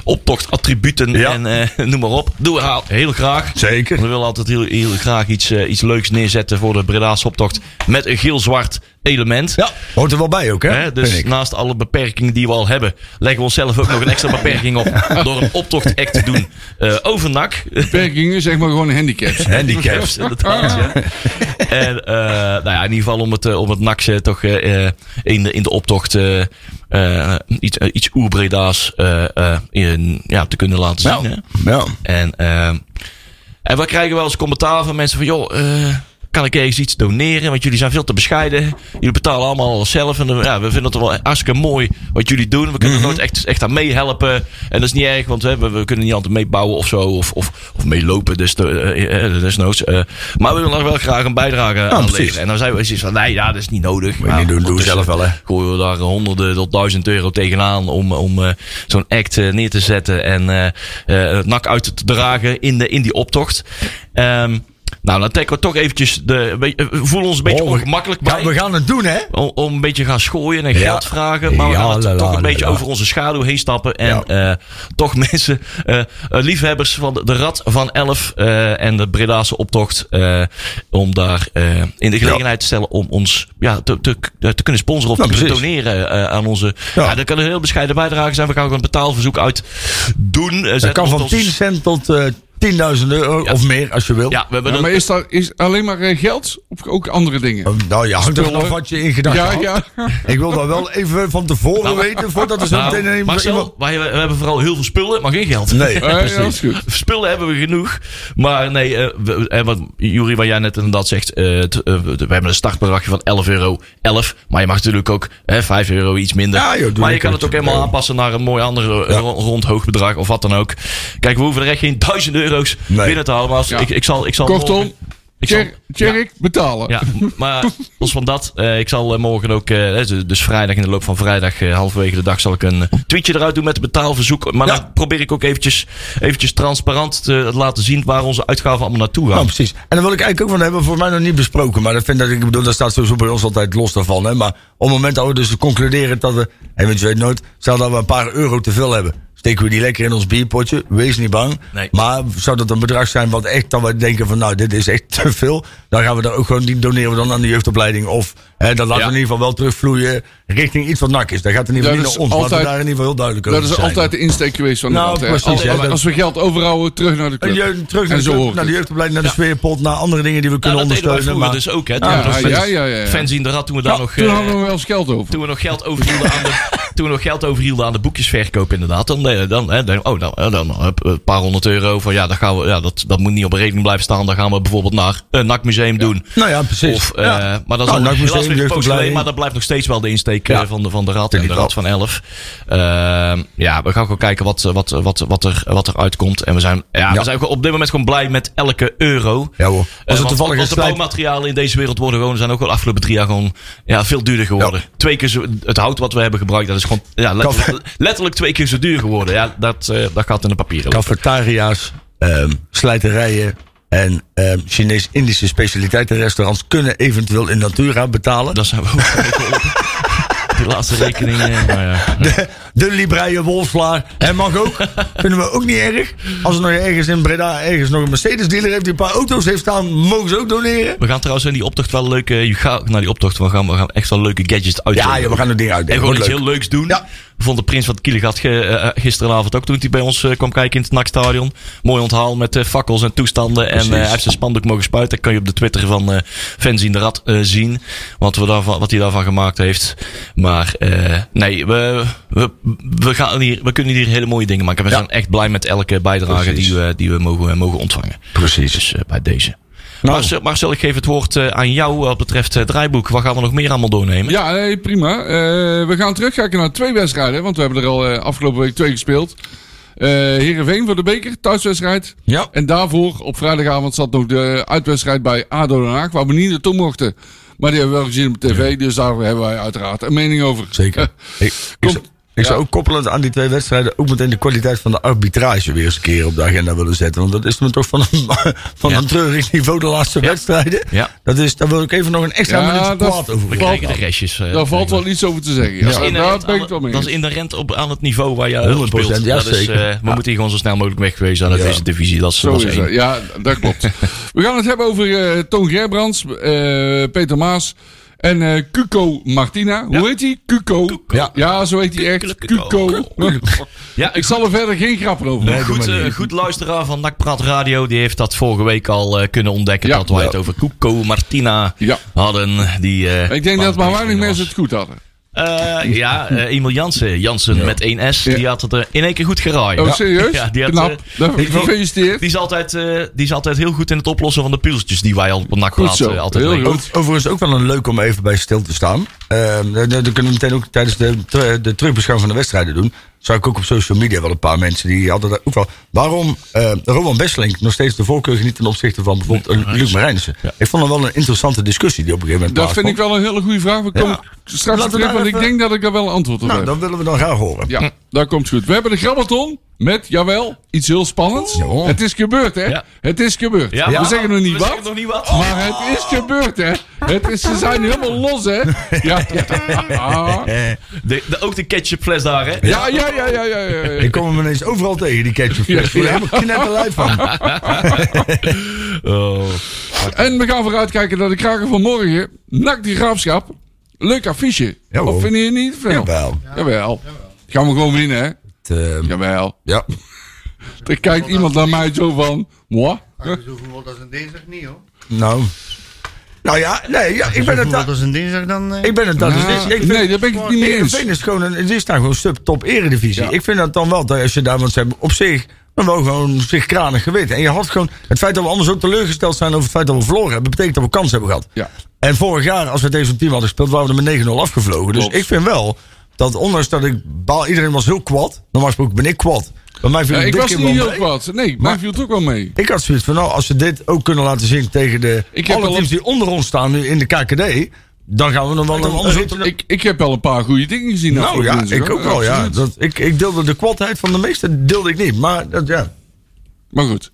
Speaker 2: optochtattributen.
Speaker 3: Ja.
Speaker 2: En eh, noem maar op. Doe haal heel graag.
Speaker 3: zeker.
Speaker 2: Want we willen altijd heel, heel graag iets, eh, iets leuks neerzetten voor de Breda's optocht. Met een geel-zwart element.
Speaker 3: Ja, hoort er wel bij ook, hè?
Speaker 2: Hè, dus
Speaker 3: Vind ik.
Speaker 2: naast alle beperkingen die we al hebben, leggen we onszelf ook nog een extra beperking op. Door een optochtact te doen. eh over NAC.
Speaker 4: Beperkingen, zeg maar gewoon handicaps.
Speaker 3: Handicaps.
Speaker 2: inderdaad. Ja. En eh, nou ja, in ieder geval om het, eh, om het NAC eh, toch eh, eh, in, de, in de optocht eh, eh, iets, eh, iets oerbreda's eh, eh, in, ja, te kunnen laten zien.
Speaker 3: Nou,
Speaker 2: hè.
Speaker 3: ja.
Speaker 2: En, ehm, en we krijgen wel eens commentaar van mensen van... joh, eh, kan ik ergens iets doneren? Want jullie zijn veel te bescheiden. Jullie betalen allemaal zelf. En eh, ja, we vinden het wel hartstikke mooi wat jullie doen. We kunnen
Speaker 3: Mhm.
Speaker 2: er nooit echt, echt aan meehelpen. En dat is niet erg, want hè, we, we kunnen niet altijd meebouwen of zo. Of, of, of meelopen, dus de, eh, eh, desnoods. eh. maar we willen er wel graag een bijdrage aan
Speaker 3: Nou, precies.
Speaker 2: leveren. En dan zijn we zoiets van, nee, ja, dat is niet nodig.
Speaker 3: je niet doen, doe
Speaker 2: ondertussen
Speaker 3: zelf wel, hè.
Speaker 2: eh, gooien we daar honderden tot duizend euro tegenaan om, om eh, zo'n act eh, neer te zetten en eh, eh, het nak uit te dragen in, de, in die optocht. Ehm, nou, dan trekken we toch eventjes de. een beetje- we voelen ons een beetje
Speaker 3: Oh, we-
Speaker 2: ongemakkelijk
Speaker 3: Ja,
Speaker 2: bij.
Speaker 3: we gaan het doen, hè?
Speaker 2: om, om een beetje gaan schooien en
Speaker 3: Ja.
Speaker 2: geld vragen. Maar we
Speaker 3: Ja,
Speaker 2: gaan het
Speaker 3: la, la,
Speaker 2: toch een
Speaker 3: la,
Speaker 2: beetje
Speaker 3: la.
Speaker 2: over onze schaduw heen stappen. En
Speaker 3: Ja.
Speaker 2: eh, toch mensen, eh, eh, liefhebbers van de, de Rad van Elf eh, en de Bredaanse optocht. eh, om daar eh, in de gelegenheid te stellen om ons ja, te, te, te kunnen sponsoren of
Speaker 3: Nou,
Speaker 2: te kunnen
Speaker 3: precies.
Speaker 2: doneren eh, aan onze... Ja.
Speaker 3: Ja.
Speaker 2: dat kan een heel bescheiden bijdrage zijn. We gaan ook een betaalverzoek uit doen. eh, zetten
Speaker 3: Dat kan
Speaker 2: op
Speaker 3: van
Speaker 2: onze-
Speaker 3: 10 cent tot eh 10.000 euro
Speaker 2: Ja.
Speaker 3: of meer, als je wil.
Speaker 2: Ja, we hebben
Speaker 4: Ja,
Speaker 2: een-
Speaker 4: maar is, daar, is alleen maar eh, geld of ook andere dingen?
Speaker 3: Eh, Nou ja, hangt er vanaf
Speaker 4: Spullen.
Speaker 3: wat je in gedachten
Speaker 4: Ja,
Speaker 3: had.
Speaker 4: ja.
Speaker 3: Ik wil dat wel even van tevoren
Speaker 2: Nou,
Speaker 3: weten, voordat er zo
Speaker 2: Nou,
Speaker 3: meteen een- iemand...
Speaker 2: Marcel, wij, wij hebben vooral heel veel spullen, maar geen geld.
Speaker 3: Nee,
Speaker 4: Eh, ja, dat
Speaker 3: precies.
Speaker 4: is goed.
Speaker 2: Spullen hebben we genoeg. Maar nee, eh, we- en wat, Jury, wat jij net inderdaad zegt. eh, t- eh, we we hebben een startbedragje van 11 euro. 11, maar je mag natuurlijk ook hè, 5 euro iets minder.
Speaker 3: Ja, joh, doe
Speaker 2: maar je
Speaker 3: lekker
Speaker 2: kan het ook
Speaker 3: met
Speaker 2: helemaal
Speaker 3: €10
Speaker 2: aanpassen naar een mooi ander eh, ro- rond hoog bedrag of wat dan ook. Kijk, we hoeven er echt geen duizend euro's
Speaker 3: Nee.
Speaker 2: binnen te halen. Maar als,
Speaker 4: Ja.
Speaker 2: ik, ik zal, ik zal
Speaker 4: Kortom,
Speaker 2: morgen- Ik zal-
Speaker 4: Tjer- Tjerk, betalen.
Speaker 2: Ja, maar los van dat, eh, ik zal eh, morgen ook, eh, dus- dus vrijdag, in de loop van vrijdag, eh, halverwege de dag, zal ik een eh, tweetje eruit doen met het betaalverzoek. Maar
Speaker 3: Ja.
Speaker 2: dan probeer ik ook eventjes, eventjes transparant te laten zien waar onze uitgaven allemaal naartoe
Speaker 3: Nou,
Speaker 2: gaan.
Speaker 3: precies. En dan wil ik eigenlijk ook van hebben, voor mij nog niet besproken. Maar dat vind dat, ik bedoel, dat staat sowieso bij ons altijd los daarvan. Hè? Maar op het moment dat we dus concluderen dat we, en want je weet nooit, stel dat we een paar euro te veel hebben. Steken we die lekker in ons bierpotje, wees niet bang.
Speaker 2: Nee.
Speaker 3: Maar zou dat een bedrag zijn wat echt, dat we denken van nou, dit is echt te veel. Dan gaan we daar ook gewoon, die doneren we dan aan de jeugdopleiding. Of hè, dat laten
Speaker 2: Ja.
Speaker 3: we in ieder geval wel terugvloeien richting iets wat nak is. Dat gaat in ieder geval
Speaker 4: Dat
Speaker 3: niet
Speaker 4: is
Speaker 3: naar ons. Laten we
Speaker 4: altijd-
Speaker 3: daar in ieder geval heel duidelijk
Speaker 4: Dat
Speaker 3: over
Speaker 4: is
Speaker 3: zijn.
Speaker 4: altijd de insteek geweest van de
Speaker 3: Nou,
Speaker 4: band, hè.
Speaker 3: precies,
Speaker 4: als,
Speaker 3: ja,
Speaker 4: als-
Speaker 3: dat-
Speaker 4: als we geld overhouden, terug naar de
Speaker 3: Een
Speaker 4: club.
Speaker 3: jeugd- terug naar
Speaker 4: en
Speaker 3: de,
Speaker 4: zo
Speaker 3: club,
Speaker 4: hoort
Speaker 3: naar de
Speaker 4: het.
Speaker 3: jeugdopleiding, naar de sfeerpot, naar andere dingen die we
Speaker 2: Nou,
Speaker 3: kunnen
Speaker 2: dat deden wij
Speaker 3: ondersteunen.
Speaker 2: vroeger
Speaker 3: Maar...
Speaker 2: dus ook, hè?
Speaker 3: Ah,
Speaker 2: Toen we nog
Speaker 4: ja,
Speaker 2: fans-
Speaker 4: ja, ja, ja.
Speaker 2: fans in de rad, toen we daar nog...
Speaker 4: Toen
Speaker 2: eh,
Speaker 4: hadden we wel eens geld over.
Speaker 2: toen we nog geld overhielden aan de, toen we nog geld overhielden aan de boekjesverkoop inderdaad. Dan, eh, dan, hè, dan, oh, dan, eh, dan eh, een paar honderd euro van ja, dat, gaan we, ja dat, dat moet niet op een rekening blijven staan. Dan gaan we bijvoorbeeld naar een NAC-museum doen.
Speaker 3: Nou ja, precies.
Speaker 2: Of, eh,
Speaker 3: Ja.
Speaker 2: Maar dat is
Speaker 3: Nou,
Speaker 2: al
Speaker 3: NAC Museum,
Speaker 2: helaas weer een poos geleden,
Speaker 3: jeugdopleiding.
Speaker 2: maar dat blijft nog steeds wel de insteek eh,
Speaker 3: Ja.
Speaker 2: van, de, van de Rad en
Speaker 3: Denk
Speaker 2: de
Speaker 3: ik
Speaker 2: Rad
Speaker 3: wel.
Speaker 2: van 11. Ehm, ja, we gaan gewoon kijken wat, eh, wat, wat, wat, er, wat er uitkomt. En we zijn, ja, we
Speaker 3: Ja.
Speaker 2: zijn gewoon op dit moment gewoon blij met elke euro.
Speaker 3: Ja hoor.
Speaker 2: Eh,
Speaker 3: Als het
Speaker 2: want-
Speaker 3: toevallig
Speaker 2: want
Speaker 3: een
Speaker 2: de
Speaker 3: slijt-
Speaker 2: bouwmaterialen in deze wereld worden gewoon, zijn ook wel de afgelopen drie jaar gewoon ja, veel duurder geworden. Twee keer zo, het hout wat we hebben gebruikt, dat is gewoon ja, letterlijk, letterlijk twee keer zo duur geworden. Ja, dat, eh, dat gaat in de papieren. lopen.
Speaker 3: cafetaria's, ehm, slijterijen en ehm, Chinees-Indische specialiteitenrestaurants kunnen eventueel in Natura betalen.
Speaker 2: Dat zijn we ook wel even op. Die laatste rekening. eh,
Speaker 3: Oh,
Speaker 2: maar ja.
Speaker 3: De, de Libreien Wolfslaar. Hij mag ook. Vinden we ook niet erg. Als er nog ergens in Breda ergens nog een Mercedes-dealer heeft die een paar auto's heeft staan, mogen ze ook doneren.
Speaker 2: We gaan trouwens in die optocht wel leuke. Je gaat naar die optocht. We gaan, we gaan echt wel leuke gadgets uit.
Speaker 3: Ja, ja, we gaan het ding
Speaker 2: En
Speaker 3: uitdenken.
Speaker 2: gewoon
Speaker 3: Wordt
Speaker 2: iets
Speaker 3: leuk.
Speaker 2: heel leuks doen.
Speaker 3: Ja.
Speaker 2: We vonden Prins van Kielegat ge, eh, gisteravond ook toen hij bij ons eh, kwam kijken in het NAC-stadion. Mooi onthaal met eh, fakkels en toestanden. En eh, hij heeft zijn spandoek mogen spuiten. Dat kan je op de Twitter van eh Fans in de Rad eh, zien. Wat, we daarvan, wat hij daarvan gemaakt heeft. Maar eh, nee, we, we, we, gaan hier, we kunnen hier hele mooie dingen maken. We
Speaker 3: Ja.
Speaker 2: zijn echt blij met elke bijdrage
Speaker 3: Precies.
Speaker 2: die we, die we mogen, mogen ontvangen.
Speaker 3: Precies.
Speaker 2: Dus eh, bij deze.
Speaker 3: Nou.
Speaker 2: Marcel, Marcel, ik geef het woord eh, aan jou wat betreft het draaiboek. Wat gaan we nog meer allemaal doornemen?
Speaker 4: Ja, nee, prima. Eh, we gaan terugkijken naar twee wedstrijden. Want we hebben er al eh, afgelopen week twee gespeeld. Eh Heerenveen voor de beker, thuiswedstrijd.
Speaker 3: Ja.
Speaker 4: En daarvoor, op vrijdagavond, zat nog de uitwedstrijd bij ADO Den Haag. Waar we niet naartoe mochten. Maar die hebben we wel gezien op tv. Dus daar hebben wij uiteraard een mening over.
Speaker 3: Zeker. Ik, ik,
Speaker 4: Kom.
Speaker 3: zou- ik zou ook koppelend aan die twee wedstrijden ook meteen de kwaliteit van de arbitrage weer eens een keer op de agenda willen zetten. Want dat is me toch van een, van
Speaker 2: Ja.
Speaker 3: een treurig niveau de laatste wedstrijden.
Speaker 2: Ja.
Speaker 3: Dat is, daar wil ik even nog een extra
Speaker 4: Ja,
Speaker 3: minuut
Speaker 4: dat-
Speaker 3: kwaad over
Speaker 2: We
Speaker 3: worden.
Speaker 2: krijgen de restjes. eh,
Speaker 4: Daar valt wel iets over te zeggen. Ja,
Speaker 2: Dat is
Speaker 4: daar
Speaker 2: inherent
Speaker 4: ben ik
Speaker 2: aan,
Speaker 4: het wel mee
Speaker 2: eh, dat is
Speaker 4: eens.
Speaker 2: inherent op, aan het niveau waar jij
Speaker 3: 100%
Speaker 2: speelt.
Speaker 3: ja,
Speaker 2: dat Is,
Speaker 3: zeker.
Speaker 2: eh, we moeten hier gewoon zo snel mogelijk wegwezen aan uit
Speaker 3: Ja.
Speaker 2: deze divisie. Dat is,
Speaker 4: Zo
Speaker 2: dat is
Speaker 4: is
Speaker 2: één.
Speaker 4: dat. Ja, dat klopt. We gaan het hebben over eh, Toon Gerbrands, eh, Peter Maas en eh Cuco Martina. Hoe heet hij? Cuco. Ja. zo heet hij echt.
Speaker 2: Cuco.
Speaker 4: Cuco.
Speaker 2: Ja,
Speaker 4: Ik zal er verder geen grappen over maken.
Speaker 2: goed, eh, goed luisteraar van Nakpraat Radio, die heeft dat vorige week al eh, kunnen ontdekken.
Speaker 4: Ja.
Speaker 2: dat wij
Speaker 4: Ja.
Speaker 2: het over Cuco Martina
Speaker 4: Ja.
Speaker 2: hadden. Die, eh,
Speaker 4: Ik denk dat maar weinig
Speaker 2: was.
Speaker 4: mensen het goed hadden.
Speaker 2: Eh, ja, eh, Emil Jansen. Jansen met 1S. Die had het eh, in één keer goed geraaid.
Speaker 4: Oh,
Speaker 2: Ja.
Speaker 4: serieus?
Speaker 2: Ja, die had,
Speaker 4: Knap.
Speaker 2: eh,
Speaker 4: Nou,
Speaker 2: die-
Speaker 4: Gefeliciteerd.
Speaker 2: Die is, altijd, eh, die is altijd heel goed in het oplossen van de puzzeltjes die wij al op Nakpraat
Speaker 4: Goed zo.
Speaker 2: eh, altijd
Speaker 4: Heel
Speaker 2: leggen.
Speaker 4: goed.
Speaker 3: Over- Overigens ook wel een leuk om even bij stil te staan. Ehm, dat, dat kunnen we meteen ook tijdens de, ter- de terugbeschouwing van de wedstrijden doen. Zou ik ook op social media wel een paar mensen die hadden daar ook wel. Waarom eh, Roman Besselink nog steeds de voorkeur geniet ten opzichte van bijvoorbeeld een Luc Marijnissen? Ik vond het wel een interessante discussie die op een gegeven moment
Speaker 4: Dat vind ik
Speaker 3: plaatsvond.
Speaker 4: wel een hele goede vraag. We komen straks
Speaker 3: Laten
Speaker 4: op
Speaker 3: we
Speaker 4: terug,
Speaker 3: daar
Speaker 4: want ik
Speaker 3: even-
Speaker 4: denk dat ik daar wel een antwoord op
Speaker 3: Nou,
Speaker 4: heb.
Speaker 3: dat willen we dan graag horen.
Speaker 2: Hm.
Speaker 4: Ja, daar komt goed. We hebben de Grabbelton met, jawel, iets heel spannends.
Speaker 3: Oeh.
Speaker 4: Het is gebeurd, hè?
Speaker 2: Ja.
Speaker 4: Het is gebeurd.
Speaker 2: Ja,
Speaker 4: we
Speaker 2: maar-
Speaker 4: zeggen nog niet
Speaker 2: we
Speaker 4: wat.
Speaker 2: zeggen nog niet wat. Oh.
Speaker 4: Maar het is gebeurd, hè? Het is, ze zijn helemaal los, hè? Ja, ja,
Speaker 2: De, de- ook de ketchupfles daar, hè?
Speaker 4: ja, ja, ja, ja. ja, ja.
Speaker 3: Ik kom hem ineens overal tegen, die ketchup.
Speaker 4: Ja,
Speaker 3: Ik word
Speaker 4: ja.
Speaker 3: er helemaal knetterluid van.
Speaker 2: Oh.
Speaker 4: En we gaan vooruitkijken naar de kraken van morgen. Nak die graafschap. Leuk affiche.
Speaker 3: Ja, hoor.
Speaker 4: of vind je het niet? Jawel.
Speaker 3: Jawel.
Speaker 4: Jawel. Gaan we gewoon winnen, hè?
Speaker 3: Het, eh,
Speaker 4: Jawel.
Speaker 3: ja.
Speaker 4: Dan kijkt iemand naar mij zo van... Moi?
Speaker 5: Maar zo voetbal als een dinsdag niet hoor.
Speaker 3: Nou. Nou ja, nee, ja, ik
Speaker 5: Zo
Speaker 3: ben het
Speaker 5: voetbal
Speaker 3: daar.
Speaker 5: als een dinsdag dan. eh,
Speaker 3: Ik ben het daar. dus
Speaker 4: Ja,
Speaker 3: niet- ik vind-
Speaker 4: Ah. nee, daar ben ik het niet mee eens.
Speaker 3: Heerenveen is gewoon een, het is daar gewoon subtop eredivisie.
Speaker 4: Ja.
Speaker 3: Ik vind dat dan wel, dat als je daar, want ze hebben op zich dan wel gewoon zich kranig geweten. En je had gewoon, het feit dat we anders ook teleurgesteld zijn over het feit dat we verloren hebben, betekent dat we kans hebben gehad.
Speaker 4: Ja.
Speaker 3: En vorig jaar, als we deze team hadden gespeeld, waren we er met 9-0 afgevlogen. Dus
Speaker 4: Klopt.
Speaker 3: ik vind wel dat, ondanks dat ik baal, iedereen was heel kwad, normaal gesproken ben ik kwad. Maar mij viel
Speaker 4: Ja,
Speaker 3: het
Speaker 4: ik
Speaker 3: dit
Speaker 4: was
Speaker 3: keer wel
Speaker 4: niet heel
Speaker 3: mee.
Speaker 4: kwaad. Nee, maar
Speaker 3: Maar-
Speaker 4: viel het ook wel mee.
Speaker 3: Ik had zoiets van, nou, als ze dit ook kunnen laten zien tegen de
Speaker 4: Ik heb
Speaker 3: alle
Speaker 4: wel
Speaker 3: teams die onder ons staan nu in de KKD, dan gaan we nog wel een
Speaker 4: Ik-
Speaker 3: onderzoek doen.
Speaker 4: ik, ik heb wel een paar goede dingen gezien.
Speaker 3: Nou
Speaker 4: afgelopen
Speaker 3: ja,
Speaker 4: woensdag,
Speaker 3: ik
Speaker 4: hoor.
Speaker 3: ook wel, ja.
Speaker 4: Absoluut.
Speaker 3: Dat, ik, ik deelde de kwadheid van de meeste, deelde ik niet. Maar dat, ja,
Speaker 4: Maar goed.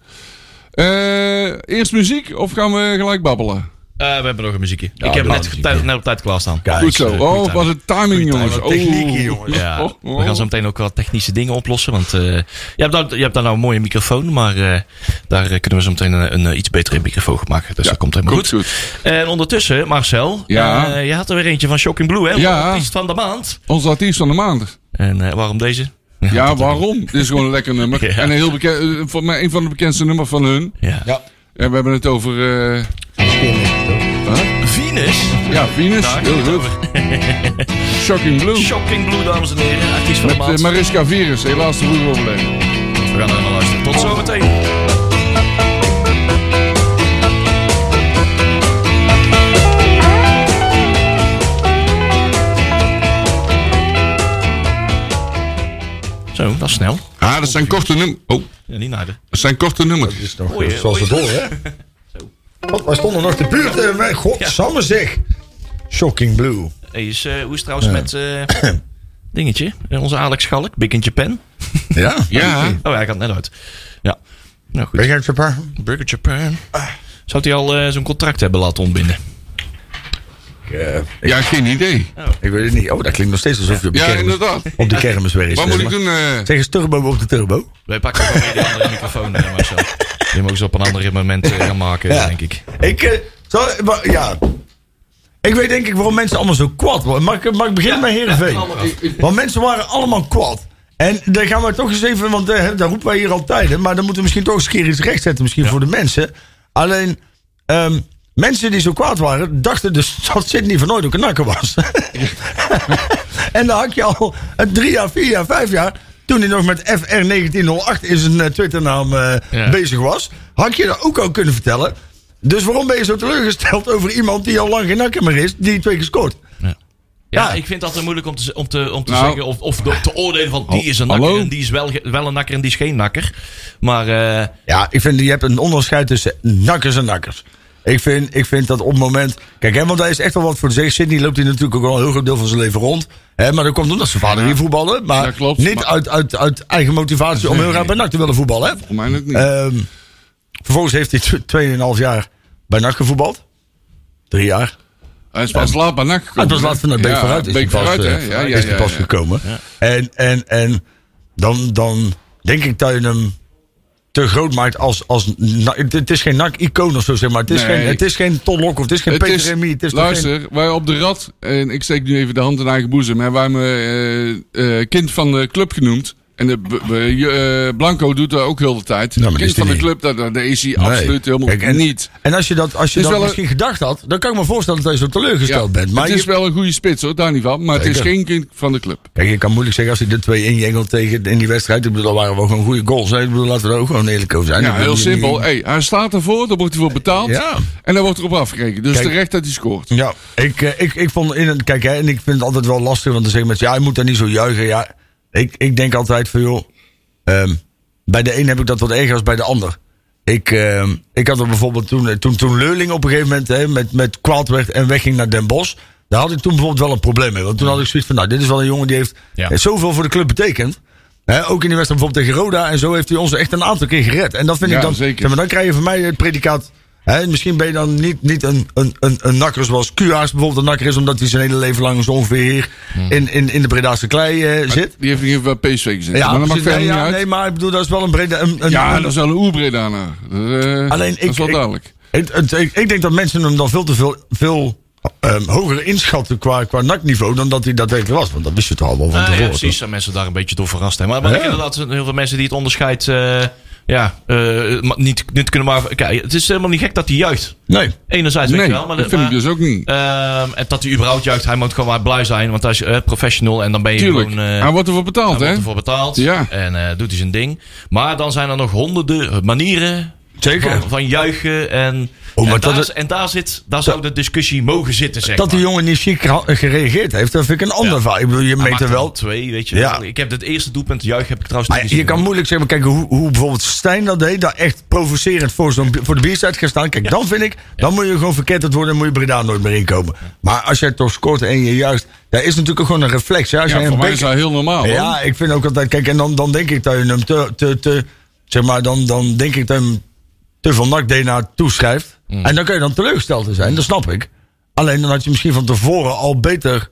Speaker 4: Eh, eerst muziek of gaan we gelijk babbelen?
Speaker 2: Eh, we hebben nog een muziekje.
Speaker 3: Ja,
Speaker 2: ik heb
Speaker 3: doe
Speaker 2: net,
Speaker 3: maar.
Speaker 2: op tijd- net op tijd klaarstaan.
Speaker 3: kijk.
Speaker 4: Goed zo.
Speaker 2: eh,
Speaker 4: Oh,
Speaker 2: goeie
Speaker 4: wat een timing, jongens.
Speaker 3: wat techniek hier,
Speaker 4: Oh.
Speaker 3: jongens.
Speaker 2: Ja,
Speaker 4: Oh, oh.
Speaker 2: we gaan zo meteen ook wat technische dingen oplossen. Want eh, je, hebt daar, je hebt daar nou een mooie microfoon. Maar eh, daar eh, kunnen we zo meteen een, een, eh, iets betere microfoon van maken. Dus
Speaker 4: Ja,
Speaker 2: dat komt helemaal
Speaker 4: komt
Speaker 2: goed. En ondertussen, Marcel.
Speaker 4: Ja.
Speaker 2: eh, je had er weer eentje van Shocking Blue, hè?
Speaker 4: Ja.
Speaker 2: Artiest van de maand.
Speaker 4: Onze artiest van de maand.
Speaker 2: En eh, waarom deze?
Speaker 4: Ja, waarom? Dit is gewoon een lekker nummer.
Speaker 2: Ja.
Speaker 4: En een heel bekend, eh, voor mij een van de bekendste nummers van hun.
Speaker 2: Ja.
Speaker 4: En we hebben het over... eh,
Speaker 2: Venus.
Speaker 4: ja, Venus.
Speaker 2: Daar
Speaker 4: heel
Speaker 2: gaat het
Speaker 4: goed. Shocking Blue.
Speaker 2: Shocking Blue, dames en heren. Artiest van de
Speaker 4: Met eh,
Speaker 2: maand.
Speaker 4: Mariska Virus. Helaas te vroeg overleden.
Speaker 2: We gaan er naar luisteren. Tot zometeen. Zo, dat is snel.
Speaker 4: Ah, dat zijn korte nummers. Oh,
Speaker 2: Ja, niet naar de.
Speaker 4: dat zijn korte nummers.
Speaker 3: is nog
Speaker 2: Oei,
Speaker 3: eh, zoals
Speaker 2: oei.
Speaker 3: het hoort, hè. Wat, wij stonden nog te buurt. eh, wij- God, samme zeg. Shocking Blue.
Speaker 2: Hey, is, eh, hoe is het trouwens met eh, dingetje? Eh, Onze Alex Schalk, Big in Japan.
Speaker 3: Ja?
Speaker 4: Ja.
Speaker 2: Oh, ja, ik had het net uit. Ja. Nou goed.
Speaker 3: Ben jij het super?
Speaker 2: Big in Japan. Zou hij al eh, zijn contract hebben laten ontbinden?
Speaker 3: Ik, eh, ik,
Speaker 4: Ja, geen idee.
Speaker 3: ik weet het niet. Oh, dat klinkt nog steeds alsof je op de
Speaker 4: Ja,
Speaker 3: kermis,
Speaker 4: inderdaad.
Speaker 3: op de kermis werkt.
Speaker 4: Wat moet ik doen? eh?
Speaker 3: Zeg eens turbo op de turbo.
Speaker 2: Wij pakken gewoon weer de andere microfoon, eh, Marcel. Die mogen ze op een ander moment eh, gaan maken,
Speaker 3: Ja.
Speaker 2: denk ik.
Speaker 3: Ik, eh, zal, wa- ja. Ik weet denk ik waarom mensen allemaal zo kwad worden. Mag ik, mag ik beginnen bij Heerenveen? Want mensen waren allemaal kwad. En daar gaan we toch eens even, want eh, daar roepen wij hier al tijden. Maar dan moeten we misschien toch eens een keer iets rechtzetten misschien voor de mensen. Alleen, ehm, mensen die zo kwaad waren, dachten dus dat Sydney van Nooit ook een nakker was. en dan had je al een drie jaar, vier jaar, vijf jaar... toen hij nog met FR1908 in zijn eh, Twitternaam eh,
Speaker 2: Ja.
Speaker 3: bezig was... had je dat ook al kunnen vertellen. Dus waarom ben je zo teleurgesteld over iemand die al lang geen nakker meer is... die twee keer scoort?
Speaker 2: Ja,
Speaker 3: Ja.
Speaker 2: ik vind dat heel moeilijk om te, om te, om te
Speaker 4: Nou.
Speaker 2: zeggen of, of de- te oordelen van die is een
Speaker 4: Hallo?
Speaker 2: nakker en die is wel, ge- wel een nakker en die is geen nakker. Maar eh,
Speaker 3: Ja, ik vind, je hebt een onderscheid tussen nakkers en nakkers. Ik vind, ik vind dat op het moment... Kijk, hè, want daar is echt wel wat voor te zeggen. Sydney loopt hier natuurlijk ook al een heel groot deel van zijn leven rond. Hè, maar dat komt omdat zijn vader hier voetballen. Maar
Speaker 4: Ja, klopt,
Speaker 3: niet
Speaker 4: maar-
Speaker 3: Uit, uit, uit eigen motivatie om heel graag bij NAC te willen voetballen. Hè?
Speaker 4: Voor mij ook niet.
Speaker 3: Ehm, vervolgens heeft hij tw- 2,5 jaar bij NAC gevoetbald. Drie jaar.
Speaker 4: Hij is pas laat bij NAC gekomen.
Speaker 3: Ah, het was laatst van de Beek
Speaker 4: Ja,
Speaker 3: vooruit. Is
Speaker 4: Beek
Speaker 3: die pas,
Speaker 4: vooruit, hè?
Speaker 3: eh,
Speaker 4: Ja, ja,
Speaker 3: is die
Speaker 4: ja,
Speaker 3: pas
Speaker 4: ja.
Speaker 3: gekomen. En, en, en dan, dan denk ik dat je hem te groot maakt als... als na- het, het is geen NAC-icoon of zo, zeg maar. Het is
Speaker 4: Nee.
Speaker 3: geen, het is geen Ton Lok of het is geen
Speaker 4: Het
Speaker 3: Peter
Speaker 4: is-
Speaker 3: Remy. Het is toch
Speaker 4: luister, wij op de rad, en ik steek nu even de hand in eigen boezem, hè, wij hebben eh, eh, kind van de club genoemd. En de, b- b- je- eh, Blanco doet dat ook heel de tijd.
Speaker 3: Nou, maar dat
Speaker 4: kind
Speaker 3: is hij
Speaker 4: van de
Speaker 3: niet.
Speaker 4: club, dat, dat, dat is hij
Speaker 3: geen-
Speaker 4: absoluut
Speaker 3: Nee.
Speaker 4: helemaal
Speaker 3: Kijk, en,
Speaker 4: niet.
Speaker 3: En als je dat, als je
Speaker 4: Het is
Speaker 3: dat
Speaker 4: wel
Speaker 3: misschien gedacht had, dan kan ik me voorstellen dat je zo teleurgesteld bent. Maar
Speaker 4: het is
Speaker 3: je,
Speaker 4: wel een goede spits hoor, daar niet van. Maar het is
Speaker 3: Zeker.
Speaker 4: geen kind van de club.
Speaker 3: kijk, je kan moeilijk zeggen als hij de twee injengelt tegen in die wedstrijd. Ik bedoel, dat waren wel gewoon goede goals. Hè? Ik bedoel, laten we er ook gewoon eerlijk over zijn. Ik
Speaker 4: Ja,
Speaker 3: bedoel,
Speaker 4: heel
Speaker 3: die-
Speaker 4: simpel. Hey, hij staat ervoor, daar wordt hij voor betaald.
Speaker 3: Ja.
Speaker 4: En daar wordt erop afgerekend. Dus
Speaker 3: Kijk.
Speaker 4: terecht dat hij scoort.
Speaker 3: Ja, ik, eh, ik, ik vond in een, kijk, hè, en ik vind het altijd wel lastig, want dan zeggen mensen, ja, je moet daar niet zo juichen. Ja, ik, ik denk altijd van, joh, ehm, bij de een heb ik dat wat erger als bij de ander. Ik, ehm, ik had er bijvoorbeeld toen, eh, toen, toen Leurling op een gegeven moment hè, met, met kwaad werd en wegging naar Den Bosch. Daar had ik toen bijvoorbeeld wel een probleem mee. Want toen had ik zoiets van, nou, dit is wel een jongen die heeft
Speaker 2: Ja.
Speaker 3: eh, zoveel voor de club betekend. Hè, ook in die wedstrijd bijvoorbeeld tegen Roda. En zo heeft hij ons echt een aantal keer gered. En dat vind
Speaker 4: Ja,
Speaker 3: ik dan...
Speaker 4: zeker.
Speaker 3: zeg maar, dan krijg je van mij het predicaat... Hè, misschien ben je dan niet, niet een, een, een, een nakker zoals Kuaars bijvoorbeeld een nakker is... omdat hij zijn hele leven lang zo ongeveer hier
Speaker 4: Hmm.
Speaker 3: in, in, in de Bredaanse klei eh, zit.
Speaker 4: Die heeft nog even bij PSV gezeten. maar
Speaker 3: precies.
Speaker 4: dat maakt verder
Speaker 3: nee,
Speaker 4: niet
Speaker 3: ja,
Speaker 4: uit.
Speaker 3: nee, maar ik bedoel, dat is wel een brede... Een, een-
Speaker 4: ja,
Speaker 3: een-
Speaker 4: dat is wel een oerbre daarna.
Speaker 3: Alleen ik-
Speaker 4: nou. dat is wel
Speaker 3: ik-
Speaker 4: duidelijk.
Speaker 3: het- het- ik, ik denk dat mensen hem dan veel te veel, veel ehm, hoger inschatten qua, qua nakniveau... dan dat hij dat echt was. Want dat wist je toch al wel van
Speaker 2: nou ja,
Speaker 3: tevoren.
Speaker 2: precies, zijn mensen daar een beetje door verrast. Hè. Maar, maar ik
Speaker 3: Ja.
Speaker 2: denk inderdaad heel veel mensen die het onderscheid eh, ja, eh, ma- niet, niet kunnen maken. Kijk, het is helemaal niet gek dat hij juicht.
Speaker 3: Nee.
Speaker 2: Enerzijds weet
Speaker 4: Nee,
Speaker 2: je wel. Maar
Speaker 4: dat vind ik dus ook niet.
Speaker 2: Ehm, en dat hij überhaupt juicht, hij moet gewoon maar blij zijn. Want hij is eh, professional en dan ben je
Speaker 4: Tuurlijk.
Speaker 2: gewoon... eh,
Speaker 4: hij wordt ervoor betaald,
Speaker 2: Hij
Speaker 4: hè?
Speaker 2: wordt ervoor betaald
Speaker 4: Ja.
Speaker 2: en eh, doet hij zijn ding. Maar dan zijn er nog honderden manieren
Speaker 3: Zeker.
Speaker 2: Van, van juichen en.
Speaker 3: Oh, maar
Speaker 2: en,
Speaker 3: dat
Speaker 2: daar,
Speaker 3: is-
Speaker 2: en daar, zit, daar zou de discussie mogen zitten, zeg
Speaker 3: Dat die
Speaker 2: maar.
Speaker 3: jongen niet ziek gera- gereageerd heeft, dat vind ik een ander verhaal. Ik bedoel, je
Speaker 2: Hij
Speaker 3: meet er
Speaker 2: maakte
Speaker 3: wel.
Speaker 2: twee, weet je
Speaker 3: Ja.
Speaker 2: wel. Ik heb het eerste doelpunt juichen heb ik trouwens
Speaker 3: Maar
Speaker 2: niet
Speaker 3: Ah je
Speaker 2: gezien.
Speaker 3: kan moeilijk zeggen, maar kijk hoe, hoe bijvoorbeeld Stijn dat deed. Daar echt provocerend voor, zo'n, bi- voor de bierstijd gaan staan. Kijk, dan vind ik, dan moet je gewoon verketterd worden en moet je Breda nooit meer inkomen. Maar als jij toch scoort en je juist, dat is natuurlijk ook gewoon een reflex. Ja, als
Speaker 4: Ja,
Speaker 3: jij
Speaker 4: voor
Speaker 3: een
Speaker 4: mij is
Speaker 3: beker,
Speaker 4: dat heel normaal. hoor.
Speaker 3: ja, ik vind ook altijd, kijk, en dan, dan denk ik dat je hem te, te, te zeg maar, dan, dan denk ik dat je hem te veel NAC-DNA toeschrijft.
Speaker 4: Mm.
Speaker 3: En dan kun je dan teleurgesteld in zijn, dat snap ik. Alleen dan had je misschien van tevoren al beter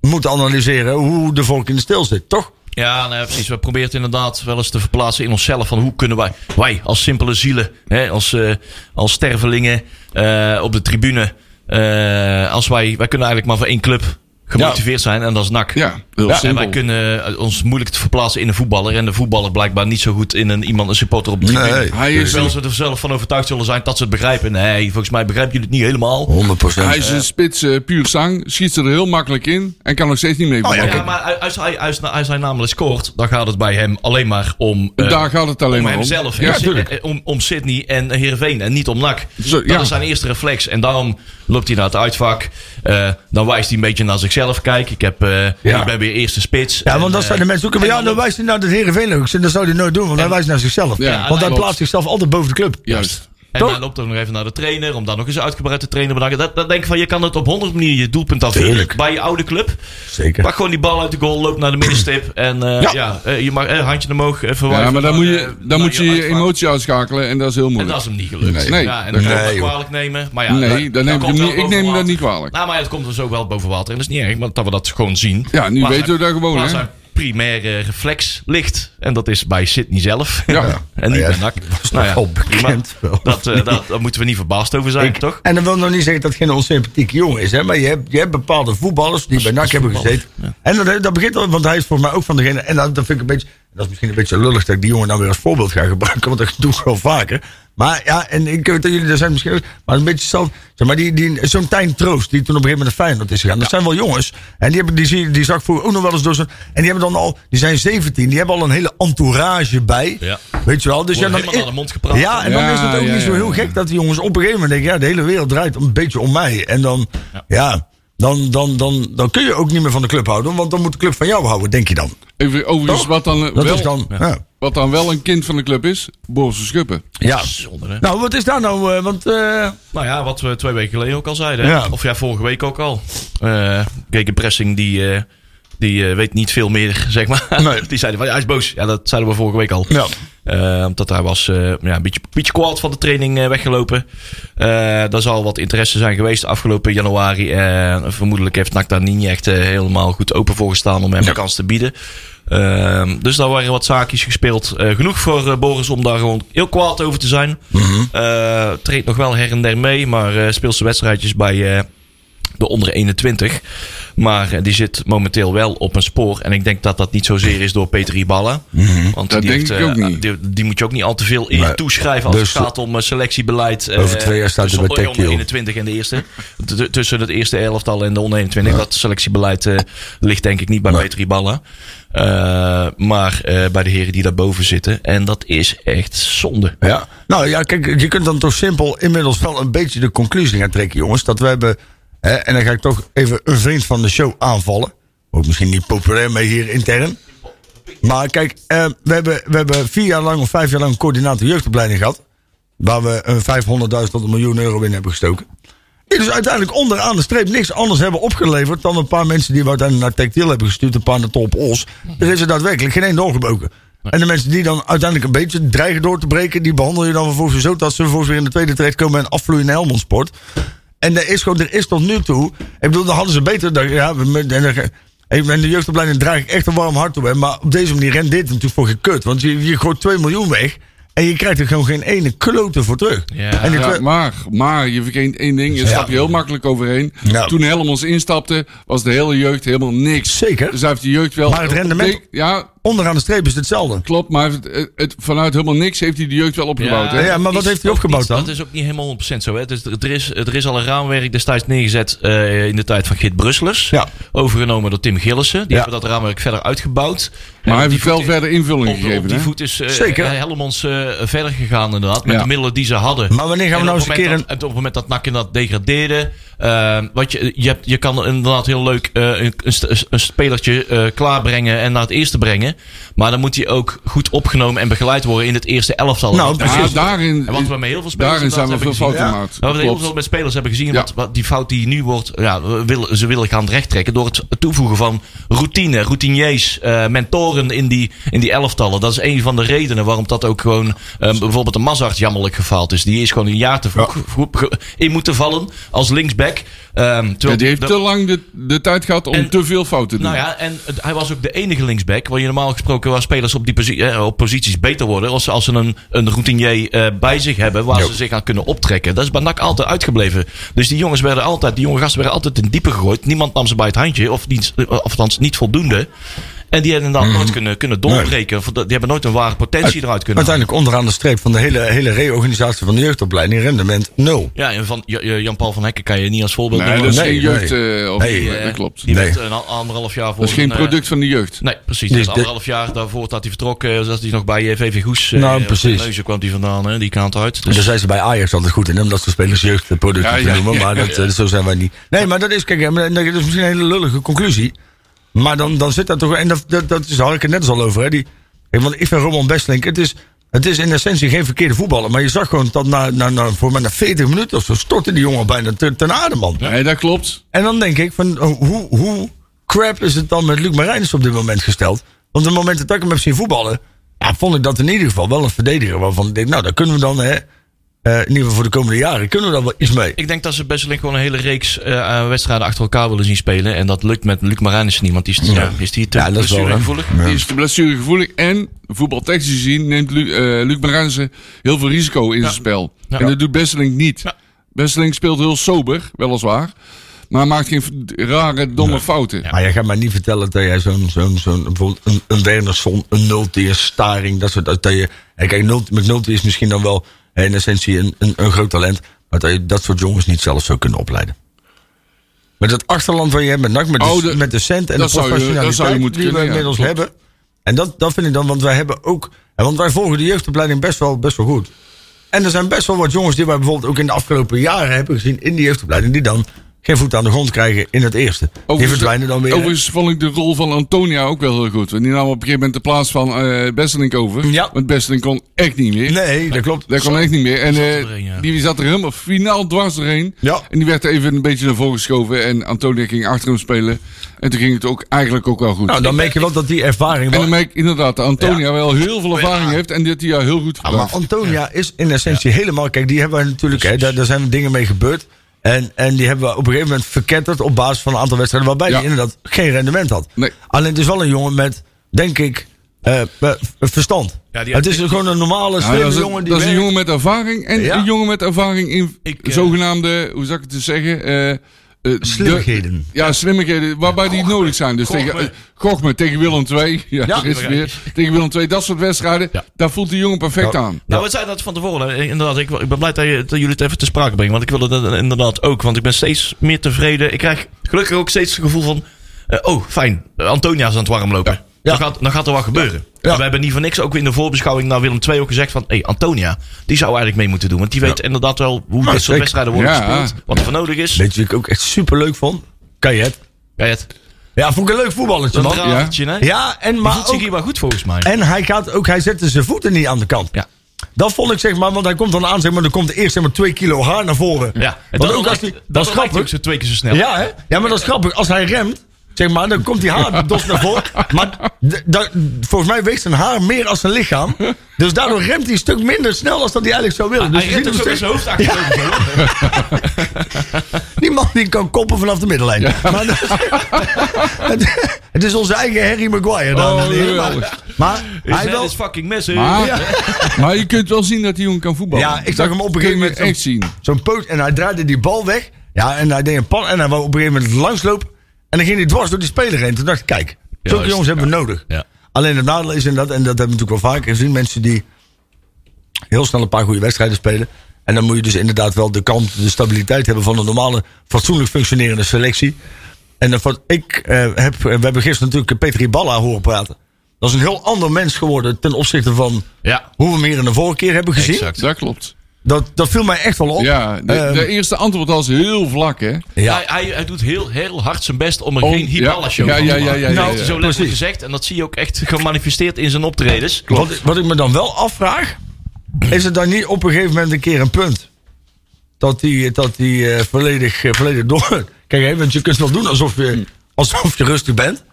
Speaker 3: moeten analyseren hoe de volk in de stil zit, toch?
Speaker 2: Ja, nou ja, precies. We proberen het inderdaad wel eens te verplaatsen in onszelf. Van hoe kunnen wij, wij als simpele zielen, hè, als, eh, als stervelingen eh, op de tribune. eh, als wij, wij kunnen eigenlijk maar voor één club gemotiveerd zijn en dat is NAC.
Speaker 4: Ja, heel
Speaker 2: Ja, en
Speaker 4: simpel.
Speaker 2: wij kunnen eh, ons moeilijk te verplaatsen in een voetballer. En de voetballer blijkbaar niet zo goed in een, iemand, een supporter op de tribune.
Speaker 3: Nee.
Speaker 4: Hij is,
Speaker 2: Terwijl ze er zelf van overtuigd zullen zijn dat ze het begrijpen. Nee, volgens mij begrijpen jullie het niet helemaal.
Speaker 3: 100
Speaker 4: hij is een spits eh, puur zang, schiet ze er heel makkelijk in en kan nog steeds niet mee voetballen.
Speaker 2: Oh, Ja, maar als hij, als, hij- als hij namelijk scoort, dan gaat het bij hem alleen maar om... eh,
Speaker 4: Dus Daar gaat het alleen
Speaker 2: om
Speaker 4: maar om.
Speaker 2: hemzelf.
Speaker 4: Ja,
Speaker 2: hè. Sy-
Speaker 4: tuurlijk.
Speaker 2: eh, om, om Sydney en Heerenveen en niet om NAC.
Speaker 4: Zo,
Speaker 2: Dat
Speaker 4: ja.
Speaker 2: is zijn eerste reflex. En daarom loopt hij naar het uitvak. Eh, dan wijst hij een beetje naar zichzelf. Kijk, ik, heb, eh,
Speaker 3: Ja.
Speaker 2: ik ben weer eerste spits.
Speaker 3: Ja, want
Speaker 2: En,
Speaker 3: dan
Speaker 2: eh,
Speaker 3: zijn de mensen ook van
Speaker 2: en
Speaker 3: ja, dan wijst hij naar de Heerenveen ook. Dat zou hij nooit doen, want hij wijst naar zichzelf.
Speaker 4: Ja,
Speaker 3: want hij
Speaker 4: klopt.
Speaker 3: plaatst zichzelf altijd boven de club.
Speaker 4: Juist.
Speaker 2: En
Speaker 3: Toch?
Speaker 2: dan loopt hij nog even naar de trainer. Om dan nog eens uitgebreid te trainen. bedanken. Dat, dat denk ik van, je kan het op honderd manieren je doelpunt afvinden.
Speaker 3: Tuurlijk.
Speaker 2: Bij je oude club.
Speaker 3: Zeker.
Speaker 2: Pak gewoon die bal uit de goal. Loop naar de middenstip. En eh,
Speaker 3: Ja.
Speaker 2: ja, eh, je mag eh, handje omhoog. Even
Speaker 4: Ja,
Speaker 2: wijven
Speaker 4: maar dan
Speaker 2: naar,
Speaker 4: moet
Speaker 2: eh,
Speaker 4: je,
Speaker 2: naar
Speaker 4: dan moet je je
Speaker 2: uitvak.
Speaker 4: emotie uitschakelen en dat is heel
Speaker 2: eh, En dat
Speaker 4: moeilijk.
Speaker 2: is hem niet gelukt.
Speaker 4: Nee.
Speaker 2: ja, en dat kan
Speaker 3: Nee,
Speaker 2: je
Speaker 3: joh.
Speaker 2: kwalijk nemen. Maar ja,
Speaker 4: Nee, dan neem ik,
Speaker 2: komt wel
Speaker 4: hem niet, ik
Speaker 2: boven
Speaker 4: neem dat
Speaker 2: water.
Speaker 4: niet kwalijk.
Speaker 2: Nou, maar het komt dus ook wel boven water. En dat is niet erg, maar dat we dat gewoon zien.
Speaker 4: Ja, nu
Speaker 2: Waar
Speaker 4: weten
Speaker 2: zijn-
Speaker 4: we dat gewoon,
Speaker 2: Waar
Speaker 4: hè?
Speaker 2: zijn primaire reflex ligt. En dat is bij Sydney zelf.
Speaker 4: Ja.
Speaker 2: en niet
Speaker 3: ja,
Speaker 2: bij NAC.
Speaker 3: dat is toch wel bekend
Speaker 2: maar
Speaker 3: wel.
Speaker 2: Nou Dat, eh, dat, daar moeten we niet verbaasd over zijn, toch?
Speaker 3: En dat wil nog niet zeggen dat het geen onsympathieke jongen is. Hè? Maar je hebt, je hebt bepaalde voetballers die bij NAC hebben gezeten. En dat, dat begint al, want hij is voor mij ook van degene... En dat, dat vind ik een beetje... Dat is misschien een beetje lullig dat ik die jongen nou weer als voorbeeld ga gebruiken. Want dat doe ik wel vaker. Maar ja, en ik weet dat jullie daar zijn misschien ook... Maar een beetje hetzelfde. Zeg maar, die, die, zo'n Tijn Troost die toen op een gegeven moment naar Feyenoord is gegaan. Dat zijn wel jongens. En die, hebben, die, zie- die zag vroeger ook nog wel eens door zo'n... En die hebben dan al... Die zijn 17. Die hebben al een hele entourage bij.
Speaker 2: Ja.
Speaker 3: Weet je wel. Dus ja,
Speaker 2: Worden
Speaker 3: dan,
Speaker 2: helemaal naar de mond gepraat.
Speaker 3: Ja, en dan
Speaker 4: Ja,
Speaker 3: is het ook
Speaker 4: ja,
Speaker 3: niet zo
Speaker 4: ja,
Speaker 3: heel
Speaker 4: ja.
Speaker 3: gek dat die jongens op een gegeven moment denken... ja, de hele wereld draait een beetje om mij. En dan, ja... dan, dan, dan, dan kun je ook niet meer van de club houden, want dan moet de club van jou houden, denk je dan.
Speaker 4: Even, overigens,
Speaker 3: Toch?
Speaker 4: wat dan, eh,
Speaker 3: Dat
Speaker 4: wel,
Speaker 3: is dan. Ja.
Speaker 4: wat dan wel een kind van de club is, Boris Verschuppen.
Speaker 3: Ja.
Speaker 2: Bijzonder, hè?
Speaker 3: Nou, wat is daar nou? eh, want eh,
Speaker 2: Nou ja, wat we twee weken geleden ook al zeiden.
Speaker 3: Ja.
Speaker 2: hè. Of ja, vorige week ook al. Eh Pressing, die, eh, die eh, weet niet veel meer, zeg maar.
Speaker 3: Nee.
Speaker 2: Die zeiden van, ja, hij is boos. Ja, dat zeiden we vorige week al.
Speaker 3: Ja.
Speaker 2: Eh, omdat hij was eh, ja, een beetje, beetje kwaad van de training eh, weggelopen. Eh daar zal wat interesse zijn geweest afgelopen januari. En vermoedelijk heeft NAC daar niet echt eh, helemaal goed open voor gestaan om hem een kans te bieden. Ehm, dus daar waren wat zaakjes gespeeld. Eh, genoeg voor eh, Boris om daar gewoon heel kwaad over te zijn.
Speaker 3: Mhm.
Speaker 2: Eh, treedt nog wel her en der mee, maar eh, speelt zijn wedstrijdjes bij eh, de onder 21. Maar eh, die zit momenteel wel op een spoor. En ik denk dat dat niet zozeer is door Peter Iballa. Want
Speaker 4: Dat
Speaker 2: die,
Speaker 4: denk
Speaker 2: heeft,
Speaker 4: ik ook
Speaker 2: eh,
Speaker 4: niet.
Speaker 2: Die, die moet je ook niet al te veel eer
Speaker 3: Mhm. Nee.
Speaker 2: toeschrijven als
Speaker 3: Dus-
Speaker 2: het gaat om eh, selectiebeleid. eh,
Speaker 3: Over twee jaar staat hij
Speaker 2: tussen
Speaker 3: bij
Speaker 2: de
Speaker 3: Tech Deal.
Speaker 2: onder 21 en de eerste. T- Tussen het eerste elftal en de onder 21. Dat selectiebeleid eh, ligt denk ik niet bij Peter Iballa. Eh, maar eh, bij de heren die daarboven zitten. En dat is echt zonde.
Speaker 3: ja. Nou ja, kijk, je kunt dan toch simpel inmiddels wel een beetje de conclusie gaan trekken, jongens. Dat we hebben. hè, en dan ga ik toch even een vriend van de show aanvallen. Ook misschien niet populair mee hier intern. Maar kijk, eh, we, hebben, we hebben vier jaar lang of vijf jaar lang een coördinator jeugdopleiding gehad. Waar we een 500.000 tot een miljoen euro in hebben gestoken. Die dus uiteindelijk onderaan de streep niks anders hebben opgeleverd dan een paar mensen die we uiteindelijk naar Tactiel hebben gestuurd, een paar naar Top Os. Er is er daadwerkelijk geen één doorgebroken. En de mensen die dan uiteindelijk een beetje dreigen door te breken, die behandel je dan vervolgens zo dat ze vervolgens weer in de tweede terecht komen en afvloeien naar Helmond Sport. En er is gewoon, er is tot nu toe. Ik bedoel, dan hadden ze beter. Dan, ja, we- en, dan- ik ben de jeugdopleiding draag ik echt een warm hart toe. Hè, maar op deze manier rent dit natuurlijk voor gekut. Want je, je gooit 2 miljoen weg. En je krijgt er gewoon geen ene klote voor terug.
Speaker 2: Ja.
Speaker 3: en die
Speaker 4: Ja,
Speaker 3: klo-
Speaker 4: maar, maar je vergeet één ding, je stap je heel makkelijk overheen.
Speaker 3: Ja.
Speaker 4: Toen Helm ons instapte, was de hele jeugd helemaal niks.
Speaker 3: Zeker.
Speaker 4: Dus hij heeft de jeugd wel...
Speaker 3: Maar het rendement-
Speaker 4: Ja,
Speaker 3: onderaan de streep is het hetzelfde.
Speaker 4: Klopt, maar het, eh, het- vanuit helemaal niks heeft hij de jeugd wel opgebouwd.
Speaker 3: Ja,
Speaker 4: hè?
Speaker 3: maar wat
Speaker 2: is
Speaker 3: heeft hij
Speaker 2: ook
Speaker 3: opgebouwd
Speaker 2: niet-
Speaker 3: dan?
Speaker 2: Dat is ook niet helemaal 100% zo. Hè? Dus er, er is, er is al een raamwerk destijds neergezet eh, in de tijd van Git Brusselers.
Speaker 3: Ja.
Speaker 2: Overgenomen door Tim Gillissen. Die
Speaker 3: Ja.
Speaker 2: hebben dat raamwerk verder uitgebouwd.
Speaker 4: Maar hij
Speaker 2: En op die
Speaker 4: heeft wel
Speaker 2: voet-
Speaker 4: verder invulling
Speaker 2: op,
Speaker 4: gegeven.
Speaker 2: op die
Speaker 4: hè?
Speaker 2: voet is eh
Speaker 3: Zeker.
Speaker 2: Helmonds eh, verder gegaan inderdaad. Met
Speaker 4: Ja.
Speaker 2: de middelen die ze hadden.
Speaker 3: Maar wanneer gaan we
Speaker 2: En
Speaker 3: nou
Speaker 2: op
Speaker 3: eens een
Speaker 2: het
Speaker 3: keer
Speaker 2: moment
Speaker 3: een...
Speaker 2: dat- en Op het moment dat NAC inderdaad degradeerde. ehm, wat je, je, hebt, je kan inderdaad heel leuk eh, een, een st- een spelertje eh, klaarbrengen en naar het eerste brengen. Maar dan moet hij ook goed opgenomen en begeleid worden in het eerste elftal.
Speaker 3: Nou,
Speaker 2: Dat is-
Speaker 4: Ja, daarin,
Speaker 2: en wat we met heel veel spelers
Speaker 4: daarin zijn we
Speaker 2: inderdaad
Speaker 4: veel
Speaker 2: hebben
Speaker 4: fouten
Speaker 3: gezien.
Speaker 4: gemaakt.
Speaker 2: Wat we heel
Speaker 4: Klopt.
Speaker 2: veel met spelers hebben gezien,
Speaker 4: Ja.
Speaker 2: wat, wat die fout die nu wordt, ja, we willen, ze willen gaan rechttrekken door het toevoegen van routine, routiniers, eh, mentoren in die, in die elftallen. Dat is een van de redenen waarom dat ook gewoon, eh, bijvoorbeeld de Mazart jammerlijk gefaald is. Die is gewoon een jaar te vroeg vroeg ge- in moeten vallen als linksback. Ehm, terwijl
Speaker 4: Ja, die heeft
Speaker 2: dat-
Speaker 4: te lang de, de tijd gehad om
Speaker 2: En-
Speaker 4: te veel fouten te doen.
Speaker 2: nou ja, en het- hij was ook de enige linksback. Waar je normaal gesproken waar spelers op, die posi- eh, op posities beter worden. Als, ze- als ze een, een routinier eh, bij zich hebben waar ze zich aan kunnen optrekken. Dat is bij NAC altijd uitgebleven. Dus die jongens werden altijd, die jonge gasten werden altijd in diepe gegooid. Niemand nam ze bij het handje. Of, niet, eh, of althans niet voldoende. En die hebben
Speaker 4: Mhm.
Speaker 2: dan nooit kunnen, kunnen doorbreken. Of dat- Die hebben nooit een ware potentie eruit kunnen halen.
Speaker 3: Uiteindelijk onderaan de streep van de hele, hele reorganisatie van de jeugdopleiding. Rendement nul.
Speaker 2: Ja, en van J- J- Jan-Paul van Hekken kan je niet als voorbeeld
Speaker 4: nee,
Speaker 2: noemen.
Speaker 4: dat is
Speaker 3: nee,
Speaker 4: geen jeugd. eh, of,
Speaker 3: Nee,
Speaker 4: nee,
Speaker 2: Eh,
Speaker 4: dat klopt.
Speaker 2: Die
Speaker 3: Nee.
Speaker 2: werd een al- anderhalf jaar voor
Speaker 4: dat is geen
Speaker 2: een, eh,
Speaker 4: product van de jeugd.
Speaker 2: Nee, precies. Dus
Speaker 3: Die- die-
Speaker 2: anderhalf jaar daarvoor dat hij vertrok, eh, zat hij nog bij eh, VV Goes. eh,
Speaker 3: Nou,
Speaker 2: op
Speaker 3: precies.
Speaker 2: Terneuzen kwam hij vandaan, hè, die kant uit.
Speaker 3: Dus
Speaker 2: Dus,
Speaker 3: daar zijn ze bij Ajax altijd goed in, om dat soort spelers jeugdproducten
Speaker 4: Ja,
Speaker 3: te
Speaker 4: ja,
Speaker 3: noemen. maar dat, eh, zo zijn wij niet. Nee, maar dat is, kijk, eh, dat is misschien een hele lullige conclusie. Maar dan, dan zit dat toch, en dat, dat, dat is, daar had ik het net eens al over. Hè, die, kijk, want ik vind Roman Bestlink, het is, het is in essentie geen verkeerde voetballer. Maar je zag gewoon dat na, na, na, voor mij na 40 minuten of zo stortte die jongen bijna ten, ten aarde, man.
Speaker 4: Nee, dat klopt.
Speaker 3: En dan denk ik, van, oh, hoe, hoe crap is het dan met Luc Marijnis op dit moment gesteld? Want op het moment dat ik hem heb zien voetballen, ja, vond ik dat in ieder geval wel een verdediger. Waarvan ik denk, nou, daar kunnen we dan, hè, eh, in ieder geval voor de komende jaren, kunnen we daar wel iets mee.
Speaker 2: ik denk dat ze best wel gewoon een hele reeks eh, eh, wedstrijden achter elkaar willen zien spelen. En dat lukt met Luc Marijnissen niet, want die is, ja, is die te
Speaker 3: Ja, dat is wel, hè.
Speaker 2: blessuregevoelig.
Speaker 4: Die is te blessuregevoelig. En voetbaltechnisch gezien neemt Lu, eh, Luc Marijnissen heel veel risico in zijn spel.
Speaker 2: Ja.
Speaker 4: En dat doet Besseling niet.
Speaker 2: Ja.
Speaker 4: Besseling speelt heel sober, weliswaar. Maar maakt geen v- rare, domme fouten.
Speaker 3: Maar jij gaat mij niet vertellen dat jij zo'n, zo'n, zo'n bijvoorbeeld een, een Wernersson, een Nulti, een Staring, dat soort, dat, dat je, en kijk, Nulti, McNulty is misschien dan wel hè, in essentie een, een, een groot talent, maar dat je dat soort jongens niet zelf zou kunnen opleiden. Met het achterland waar je hebt, met, NAC, met, de,
Speaker 4: Oh, de-
Speaker 3: met de cent en
Speaker 4: dat
Speaker 3: de
Speaker 4: zou je- dat zou je
Speaker 3: professionaliteit
Speaker 4: moeten
Speaker 3: die we
Speaker 4: kunnen, ja,
Speaker 3: inmiddels
Speaker 4: klopt.
Speaker 3: hebben. En dat, dat vind ik dan, want wij hebben ook, en want wij volgen de jeugdopleiding best wel, best wel goed. En er zijn best wel wat jongens die wij bijvoorbeeld ook in de afgelopen jaren hebben gezien in die jeugdopleiding, die dan geen voet aan de grond krijgen in het eerste. die verdwijnen dan weer. hè?
Speaker 4: Overigens vond ik de rol van Antonia ook wel heel goed. Want die nam op een gegeven moment de plaats van eh Besselink over.
Speaker 3: Ja.
Speaker 4: Want Besselink kon echt niet meer.
Speaker 3: Nee, dat klopt.
Speaker 4: Dat kon echt niet meer. En
Speaker 2: Zat
Speaker 4: eh,
Speaker 2: er doorheen, ja.
Speaker 4: die zat er helemaal finaal dwars doorheen.
Speaker 3: Ja.
Speaker 4: En die werd even een beetje naar voren geschoven. En Antonia ging achter hem spelen. En toen ging het ook eigenlijk ook wel goed.
Speaker 3: Nou, dan merk je wel dat die ervaring
Speaker 4: en
Speaker 3: wel...
Speaker 4: dan merk ik inderdaad dat Antonia wel heel veel ervaring heeft. En dat hij jou heel goed
Speaker 3: Ja, Ah, maar
Speaker 4: gebruikt.
Speaker 3: Antonia is in essentie helemaal... Kijk, die hebben wij natuurlijk... Hè, daar, daar zijn dingen mee gebeurd. En, en die hebben we op een gegeven moment verketterd... op basis van een aantal wedstrijden... waarbij
Speaker 4: Ja.
Speaker 3: die inderdaad geen rendement had.
Speaker 4: Nee.
Speaker 3: Alleen het is wel een jongen met, denk ik... eh, eh, verstand.
Speaker 2: Ja, die-
Speaker 3: het is gewoon een normale,
Speaker 4: Ja,
Speaker 3: slimme
Speaker 4: dat is, een,
Speaker 3: jongen die
Speaker 4: dat is een
Speaker 3: werkt.
Speaker 4: jongen met ervaring. En
Speaker 3: Ja.
Speaker 4: een jongen met ervaring in
Speaker 2: Ik, eh,
Speaker 4: zogenaamde, hoe zou ik het eens zeggen? eh, eh,
Speaker 3: Slimmigheden.
Speaker 4: de- ja, slimmigheden, waarbij die nodig zijn. Dus tegen
Speaker 2: Gochme.
Speaker 4: eh, Gochme, tegen Willem II. Ja,
Speaker 3: Ja.
Speaker 4: er is het weer. Tegen Willem II, dat soort wedstrijden.
Speaker 2: Ja.
Speaker 4: Daar voelt die jongen perfect aan.
Speaker 2: Nou, we zeiden dat van tevoren. hè. Inderdaad, ik, ik ben blij dat, je, dat jullie het even te sprake brengen. Want ik wilde dat eh, inderdaad ook. Want ik ben steeds meer tevreden. Ik krijg gelukkig ook steeds het gevoel van... eh, oh, fijn. eh, Antonia is aan het warmlopen. Dan, gaat, dan gaat er wat gebeuren. En we hebben niet voor niks ook in de voorbeschouwing naar Willem II ook gezegd van... Hé, hey, Antonia, die zou eigenlijk mee moeten doen. Want die weet inderdaad wel hoe dit soort
Speaker 3: zeker.
Speaker 2: wedstrijden worden
Speaker 4: Ja.
Speaker 2: gespeeld. Wat er voor nodig is.
Speaker 3: Weet je wat ik ook echt super leuk vond? Kajet.
Speaker 2: Ja, het
Speaker 3: Ja, vond ik een leuk voetballertje,
Speaker 2: dat
Speaker 3: man.
Speaker 2: draadje, hè?
Speaker 3: Ja, en
Speaker 2: Die
Speaker 3: maar
Speaker 2: voelt zich
Speaker 3: ook-
Speaker 2: hier wel goed volgens mij.
Speaker 3: En hij, gaat ook, hij zette zijn voeten niet aan de kant.
Speaker 2: Ja.
Speaker 3: Dat vond ik zeg maar, want hij komt dan aan, zeg maar, dan komt eerst zeg maar twee kilo haar naar voren.
Speaker 2: ja, en
Speaker 3: Want
Speaker 2: dat,
Speaker 3: ook als die, dat is grappig.
Speaker 2: ze twee keer zo snel.
Speaker 3: Ja, hè? ja, maar dat is grappig. Als hij remt, zeg maar, dan komt die haar dos naar voren. Maar d- da- volgens mij weegt zijn haar meer als zijn lichaam. Dus daardoor remt hij een stuk minder snel als dat hij eigenlijk zou willen.
Speaker 2: Hij
Speaker 3: dus je
Speaker 2: rent
Speaker 3: ziet
Speaker 2: ook zo
Speaker 3: hem
Speaker 2: met
Speaker 3: steeds-
Speaker 2: zijn hoofd achterover. zo.
Speaker 3: die man die kan koppen vanaf de middenlijn. Maar dat- het, het is onze eigen Harry Maguire. dan.
Speaker 4: Oh,
Speaker 3: maar
Speaker 4: geweldig.
Speaker 2: His
Speaker 3: hij
Speaker 2: head
Speaker 3: wel...
Speaker 2: is fucking messy.
Speaker 4: Maar, maar je kunt wel zien dat die jongen kan voetballen.
Speaker 3: Ja, ik zag hem op een
Speaker 4: kun
Speaker 3: gegeven
Speaker 4: je
Speaker 3: moment
Speaker 4: echt zien.
Speaker 3: Zo'n poot. En hij draaide die bal weg. Ja, en hij deed een pan. En hij wou op een gegeven moment langslopen. En dan ging hij dwars door die speler heen. Toen dacht ik, kijk, zulke
Speaker 2: Juist,
Speaker 3: jongens hebben we nodig.
Speaker 2: Ja.
Speaker 3: Alleen het nadeel is inderdaad, en dat hebben we natuurlijk wel vaker gezien, mensen die heel snel een paar goede wedstrijden spelen. En dan moet je dus inderdaad wel de kant, de stabiliteit hebben van een normale, fatsoenlijk functionerende selectie. En dan van, ik eh, heb, eh, we hebben gisteren natuurlijk Petri Balla horen praten. Dat is een heel ander mens geworden ten opzichte van
Speaker 2: Ja,
Speaker 3: hoe we hem hier in de vorige keer hebben gezien.
Speaker 2: exact.
Speaker 4: Dat klopt.
Speaker 3: Dat, dat viel mij echt wel op.
Speaker 4: Ja, de,
Speaker 3: Ehm,
Speaker 4: de eerste antwoord was heel vlak, hè?
Speaker 3: ja.
Speaker 2: Hij, hij, hij doet heel, heel hard zijn best om er
Speaker 4: Om-
Speaker 2: geen Hibala-show
Speaker 4: ja,
Speaker 2: van
Speaker 4: ja,
Speaker 2: te
Speaker 4: ja,
Speaker 2: maken.
Speaker 4: ja, ja,
Speaker 2: Dat
Speaker 4: ja.
Speaker 2: is zo letterlijk gezegd. En dat zie je ook echt gemanifesteerd in zijn optredens.
Speaker 3: Wat, wat ik me dan wel afvraag, is het dan niet op een gegeven moment een keer een punt? Dat die, dat die eh, volledig, eh, volledig door... Kijk, hè, want je kunt wel doen alsof je, alsof je rustig bent.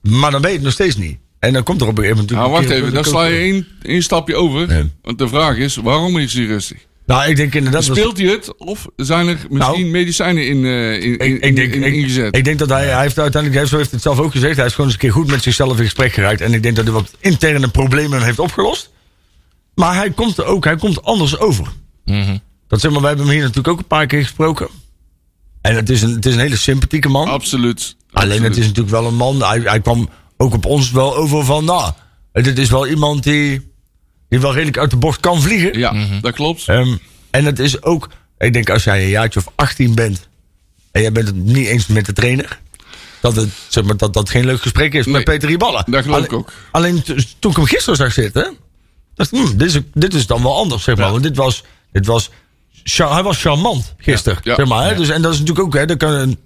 Speaker 3: Maar dan weet je het nog steeds niet. En dan komt er op een gegeven moment
Speaker 4: Nou,
Speaker 3: natuurlijk een
Speaker 4: wacht
Speaker 3: keer
Speaker 4: even,
Speaker 3: een
Speaker 4: daar
Speaker 3: punt.
Speaker 4: sla je één, één stapje over.
Speaker 3: Nee.
Speaker 4: Want de vraag is, waarom is hij rustig?
Speaker 3: Nou, ik denk inderdaad... dat-
Speaker 4: Speelt hij het of zijn er misschien
Speaker 3: Nou,
Speaker 4: medicijnen in, eh, in, in,
Speaker 3: ik, ik, denk,
Speaker 4: in-
Speaker 3: ik,
Speaker 4: ingezet?
Speaker 3: ik denk dat hij, hij heeft uiteindelijk, hij heeft- zo heeft hij het zelf ook gezegd, hij is gewoon eens een keer goed met zichzelf in gesprek geraakt. En ik denk dat hij wat interne problemen heeft opgelost. Maar hij komt er ook, hij komt anders over. Dat zeg maar, wij hebben hem hier natuurlijk ook een paar keer gesproken. En het is een, het is een hele sympathieke man.
Speaker 4: absoluut.
Speaker 3: Alleen het
Speaker 4: Absoluut.
Speaker 3: is natuurlijk wel een man, hij, hij kwam ook op ons wel over van, nou, dit is wel iemand die, die wel redelijk uit de bocht kan vliegen.
Speaker 4: Ja, dat klopt.
Speaker 3: Ehm, en het is ook, ik denk als jij een jaartje of 18 bent en jij bent het niet eens met de trainer, dat het, zeg maar, dat, dat geen leuk gesprek is
Speaker 4: Nee.
Speaker 3: met Peter Riballa.
Speaker 4: Dat geloof ik
Speaker 3: Alleen-
Speaker 4: ook.
Speaker 3: Alleen t- toen ik hem gisteren zag zitten, dacht ik, hm, dit, is, dit is dan wel anders, zeg maar. Want dit was, dit was, cha- hij was charmant gisteren,
Speaker 4: Ja.
Speaker 3: zeg maar. Hè? Dus, en dat is natuurlijk ook, hè, dat kan, een-